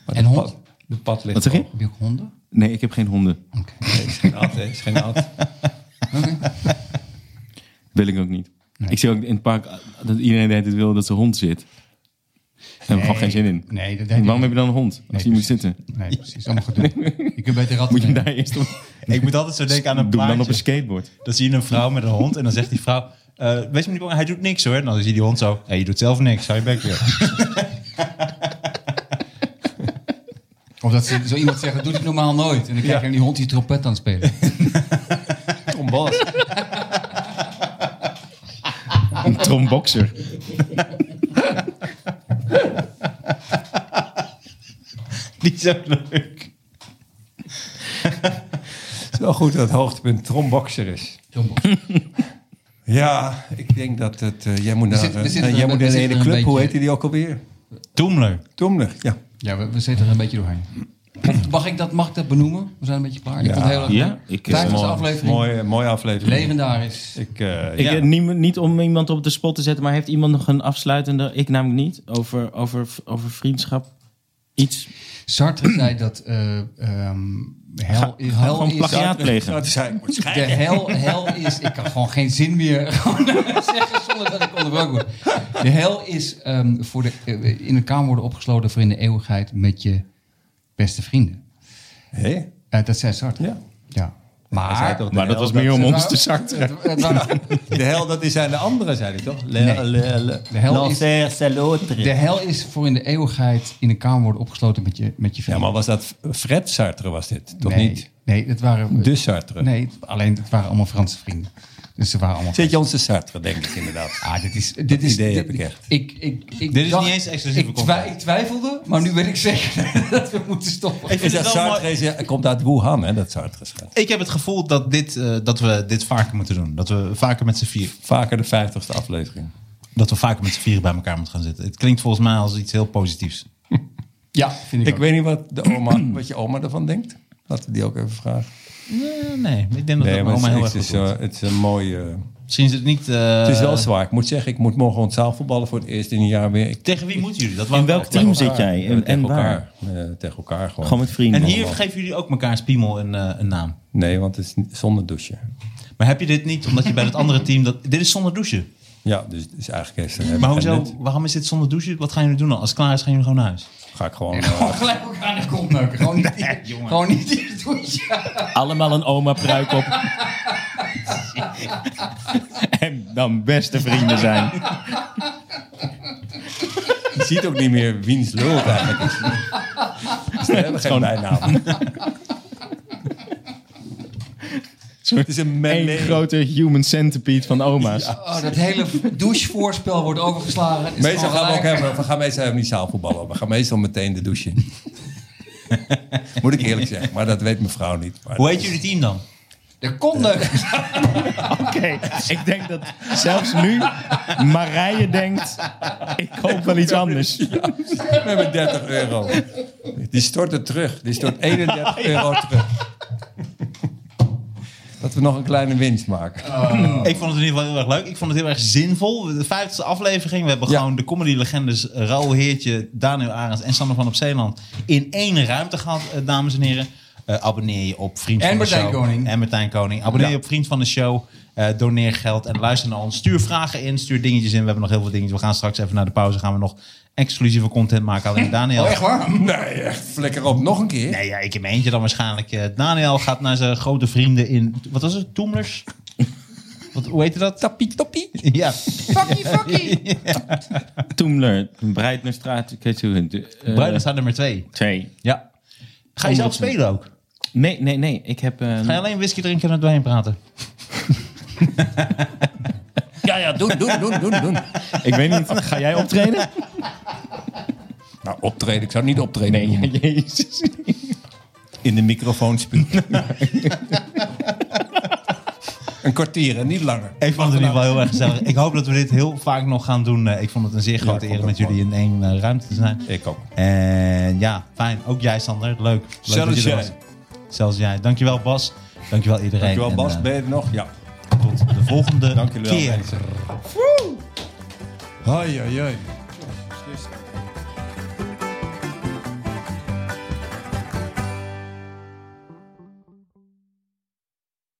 Speaker 3: Maar
Speaker 6: En
Speaker 3: de
Speaker 6: hond?
Speaker 3: pad- De pad ligt
Speaker 5: Wat zeg je?
Speaker 3: hoog.
Speaker 6: Heb je ook honden?
Speaker 5: Nee, ik heb geen honden.
Speaker 3: Nee, is geen at, hè? Is geen (laughs) at.
Speaker 5: Wil ik ook niet. Ik zie ook in het park eh, dat iedereen de hele tijd wil dat zijn hond zit. Daar heb ik gewoon geen zin in.
Speaker 6: Nee, dat denk
Speaker 5: Waarom
Speaker 6: ik
Speaker 5: heb je dan een hond? Als je moet zitten.
Speaker 6: Nee, precies. Allemaal gedoe. Je kunt beter ratten
Speaker 5: Moet je hem
Speaker 6: nemen.
Speaker 5: daar eerst op...
Speaker 2: Ik moet altijd zo denken aan een
Speaker 5: Doe hem
Speaker 2: plaatje.
Speaker 5: dan op een skateboard.
Speaker 2: Dan zie je een vrouw met een hond en dan zegt die vrouw... eh, wees me niet bang, hij doet niks hoor. En dan zie je die hond zo... Hé, je doet zelf niks, hou je bek weer.
Speaker 6: Of dat ze, zo iemand zegt, dat doet ik normaal nooit. En dan krijg je naar die hond die trompet aan het spelen.
Speaker 3: Trombas.
Speaker 5: Een tromboxer.
Speaker 2: (laughs) Die is ook leuk.
Speaker 3: Het is wel goed dat het hoogtepunt tromboxer is.
Speaker 6: Trombone.
Speaker 3: Ja, ik denk dat het... eh, jij moet naar,
Speaker 6: zitten- we
Speaker 3: eh,
Speaker 6: zitten
Speaker 3: jij
Speaker 6: er-
Speaker 3: moet
Speaker 6: we
Speaker 3: naar de
Speaker 6: zitten
Speaker 3: ene
Speaker 6: er een
Speaker 3: club. Hoe
Speaker 6: beetje-
Speaker 3: heette die ook alweer?
Speaker 2: Toemler.
Speaker 3: Toemler, ja.
Speaker 6: Ja, we, we zitten er een beetje doorheen. (clears throat) Mag ik dat, mag ik dat benoemen? We zijn een beetje klaar. Ik
Speaker 3: Ja.
Speaker 6: vond het heel erg
Speaker 5: Ja,
Speaker 6: leuk.
Speaker 5: ik,
Speaker 6: Tijdens
Speaker 5: eh,
Speaker 6: de aflevering.
Speaker 3: Mooie, mooie aflevering.
Speaker 6: Legendarisch.
Speaker 3: Ik, eh,
Speaker 5: Ik,
Speaker 3: ja.
Speaker 5: eh, niet, niet om iemand op de spot te zetten, maar heeft iemand nog een afsluitende... Ik namelijk niet. Over, over, over vriendschap. Iets.
Speaker 6: Sartre zei dat eh, ehm, hel,
Speaker 5: Ga-
Speaker 6: hel
Speaker 5: gewoon
Speaker 6: is...
Speaker 5: plagiaat plegen.
Speaker 3: Zou het zijn?
Speaker 6: De hel, hel is... Ik kan gewoon geen zin meer (laughs) gewoon zeggen zonder dat ik onderbroken word. De hel is ehm, voor de, eh, in een kamer worden opgesloten voor in de eeuwigheid met je beste vrienden.
Speaker 3: Hé?
Speaker 6: Eh, dat zei Sartre.
Speaker 3: Ja.
Speaker 6: ja.
Speaker 3: Hij zei
Speaker 6: Maar...
Speaker 3: toch, de
Speaker 5: Maar dat
Speaker 3: hel,
Speaker 5: was meer om ons te zakken.
Speaker 6: Het, het waren-
Speaker 3: De hel, dat is aan de andere, zei hij toch? Le,
Speaker 6: Nee.
Speaker 3: le, le-
Speaker 6: de hel is...
Speaker 2: De
Speaker 6: De hel is voor in de eeuwigheid in een kamer worden opgesloten met je, met je
Speaker 3: Ja,
Speaker 6: vrienden.
Speaker 3: maar was dat Fred Sartre was dit? Toch
Speaker 6: nee,
Speaker 3: niet? Dus-
Speaker 6: Nee, dat waren,
Speaker 3: De Sartre.
Speaker 6: nee, alleen het waren allemaal Franse vrienden. Dus ze waren allemaal...
Speaker 3: Zit je onze Sartre, denk ik inderdaad.
Speaker 6: Ah, dit is... Dit is
Speaker 3: idee
Speaker 6: dit,
Speaker 3: heb ik echt.
Speaker 6: Ik, ik, ik
Speaker 2: Dit is
Speaker 6: dacht-
Speaker 2: niet eens exclusieve
Speaker 6: ik,
Speaker 2: content.
Speaker 6: twi- ik twijfelde, maar nu weet ik zeker (laughs) dat we moeten stoppen.
Speaker 2: (laughs) Ik
Speaker 3: Is
Speaker 2: vind
Speaker 3: dat
Speaker 2: het wel mooi.
Speaker 3: Sartre is, eh, komt uit Wuhan, hè, dat Sartre schrijft.
Speaker 2: Ik heb het gevoel dat, dit, eh, dat we dit vaker moeten doen. Dat we vaker met z'n vier,
Speaker 3: Vaker de vijftigste aflevering.
Speaker 2: dat we vaker met z'n vieren bij elkaar moeten gaan zitten. Het klinkt volgens mij als iets heel positiefs.
Speaker 6: ja, vind ik,
Speaker 3: Ik (clears throat)
Speaker 6: ook.
Speaker 3: weet niet wat, de oma, wat je oma ervan denkt. Laten we die ook even vragen.
Speaker 2: Nee, Eh, nee, ik denk dat
Speaker 3: Nee,
Speaker 2: dat
Speaker 3: maar
Speaker 2: mijn oma
Speaker 3: het
Speaker 2: heel
Speaker 3: is,
Speaker 2: erg goed
Speaker 3: het is,
Speaker 2: doet.
Speaker 3: eh, het is een mooie...
Speaker 2: Misschien is het niet... eh,
Speaker 3: het is wel zwaar. Ik moet zeggen, ik moet morgen ontzaal voetballen voor het eerst in een jaar weer. Ik
Speaker 2: Tegen wie moeten jullie? Dat wou
Speaker 5: In
Speaker 2: ik
Speaker 5: welk
Speaker 2: ook.
Speaker 5: team zit jij? En,
Speaker 3: tegen
Speaker 5: en waar?
Speaker 3: elkaar. eh, tegen elkaar gewoon.
Speaker 5: Gewoon met vrienden.
Speaker 2: En hier geven jullie ook mekaars piemel een, eh, een naam.
Speaker 3: Nee, want het is n- zonder douchen.
Speaker 2: Maar heb je dit niet omdat je bij het andere team... Dat, dit is zonder douchen.
Speaker 3: Ja, dus het is eigenlijk... Eerst,
Speaker 2: Maar hoezo, waarom is dit zonder douchen? Wat gaan jullie doen dan? Als het klaar is, gaan jullie gewoon naar huis.
Speaker 3: Ga ik gewoon... eh,
Speaker 6: Gelijk ook aan de kont neuken. Gewoon niet, gewoon niet in het douche.
Speaker 5: Allemaal een oma-pruik op. en dan beste vrienden zijn.
Speaker 3: je ziet ook niet meer wiens lul het eigenlijk
Speaker 2: (laughs)
Speaker 3: is. Ze hebben geen bijnaam. Het is een man
Speaker 5: Eén grote human centipede van oma's.
Speaker 6: Oh, dat hele douchevoorspel wordt overgeslagen. Is
Speaker 3: Meestal
Speaker 6: gewoon
Speaker 3: gaan we ook
Speaker 6: gelijk.
Speaker 3: hebben, we gaan meestal hebben niet zaalvoetballen. We gaan meestal meteen de douche (laughs) in. Moet ik eerlijk zeggen, maar dat weet mevrouw niet. Maar
Speaker 2: Hoe heet jullie team dan?
Speaker 6: De kontneuken.
Speaker 5: Oké, ik denk dat zelfs nu Marije denkt, ik koop wel iets anders.
Speaker 3: We hebben 30 euro. Die stort het terug. Die stort 31 (laughs) euro terug. Dat we nog een kleine winst maken.
Speaker 6: Oh.
Speaker 2: Ik vond het in ieder geval heel erg leuk. Ik vond het heel erg zinvol. De vijftigste aflevering. We hebben
Speaker 3: Ja.
Speaker 2: gewoon de comedy-legendes eh, Raoul Heertje, Daniel Arends en Sander van op Zeeland in één ruimte gehad, eh, dames en heren. Eh, abonneer je op Vriend
Speaker 6: En
Speaker 2: van de
Speaker 6: Martijn
Speaker 2: Show.
Speaker 6: Koning.
Speaker 2: En Martijn Koning. Abonneer je op Vriend van de Show. Eh, doneer geld en luister naar ons. Stuur vragen in, stuur dingetjes in. We hebben nog heel veel dingetjes. We gaan straks even naar de pauze. Gaan we nog exclusieve content maken. Alleen Daniel.
Speaker 6: Oh, echt waar?
Speaker 3: Nee, echt. Flikker op. Nog een keer.
Speaker 2: Nee, ja, ik in mijn eentje dan waarschijnlijk. Eh, Daniel gaat naar zijn grote vrienden in... Wat was het?
Speaker 6: (laughs)
Speaker 2: Toemlers? Wat, hoe heette dat?
Speaker 3: Tappie toppie.
Speaker 2: Ja.
Speaker 6: Fucky, fucky.
Speaker 5: Toemler, Breitnerstraat, ik weet het niet. Eh,
Speaker 2: Bruin staat nummer twee.
Speaker 5: Twee.
Speaker 2: Ja. Ga je zelf spelen ook?
Speaker 5: Nee, nee, nee, ik heb... eh,
Speaker 2: Ga je alleen whisky drinken en er doorheen praten?
Speaker 3: Ja, ja. Doen, doen, doen, doen, doen.
Speaker 5: ik weet niet, ga jij
Speaker 2: (laughs)
Speaker 5: optreden?
Speaker 3: Nou, optreden. Ik zou niet optreden.
Speaker 5: Nee,
Speaker 3: doen.
Speaker 5: jezus.
Speaker 3: In de microfoon spugen. een kwartier en niet langer.
Speaker 2: Ik vond het in ieder geval heel erg gezellig. Ik hoop dat we dit heel vaak nog gaan doen. Eh, Ik vond het een zeer grote
Speaker 3: ik
Speaker 2: eer
Speaker 3: vond
Speaker 2: om met
Speaker 3: het ook
Speaker 2: jullie in één eh, ruimte te zijn.
Speaker 3: Ik ook.
Speaker 2: En ja, fijn. Ook jij, Sander. Leuk. Leuk
Speaker 3: Zelfs
Speaker 2: dat je er
Speaker 3: jij.
Speaker 2: was. Zelfs jij. Dankjewel, Bas. Dankjewel iedereen.
Speaker 3: Dankjewel
Speaker 2: En,
Speaker 3: Bas.
Speaker 2: eh,
Speaker 3: Ben je er nog? Ja.
Speaker 2: tot de volgende
Speaker 3: Dank jullie wel.
Speaker 2: keer.
Speaker 3: mensen. Hoi, hoi, hoi.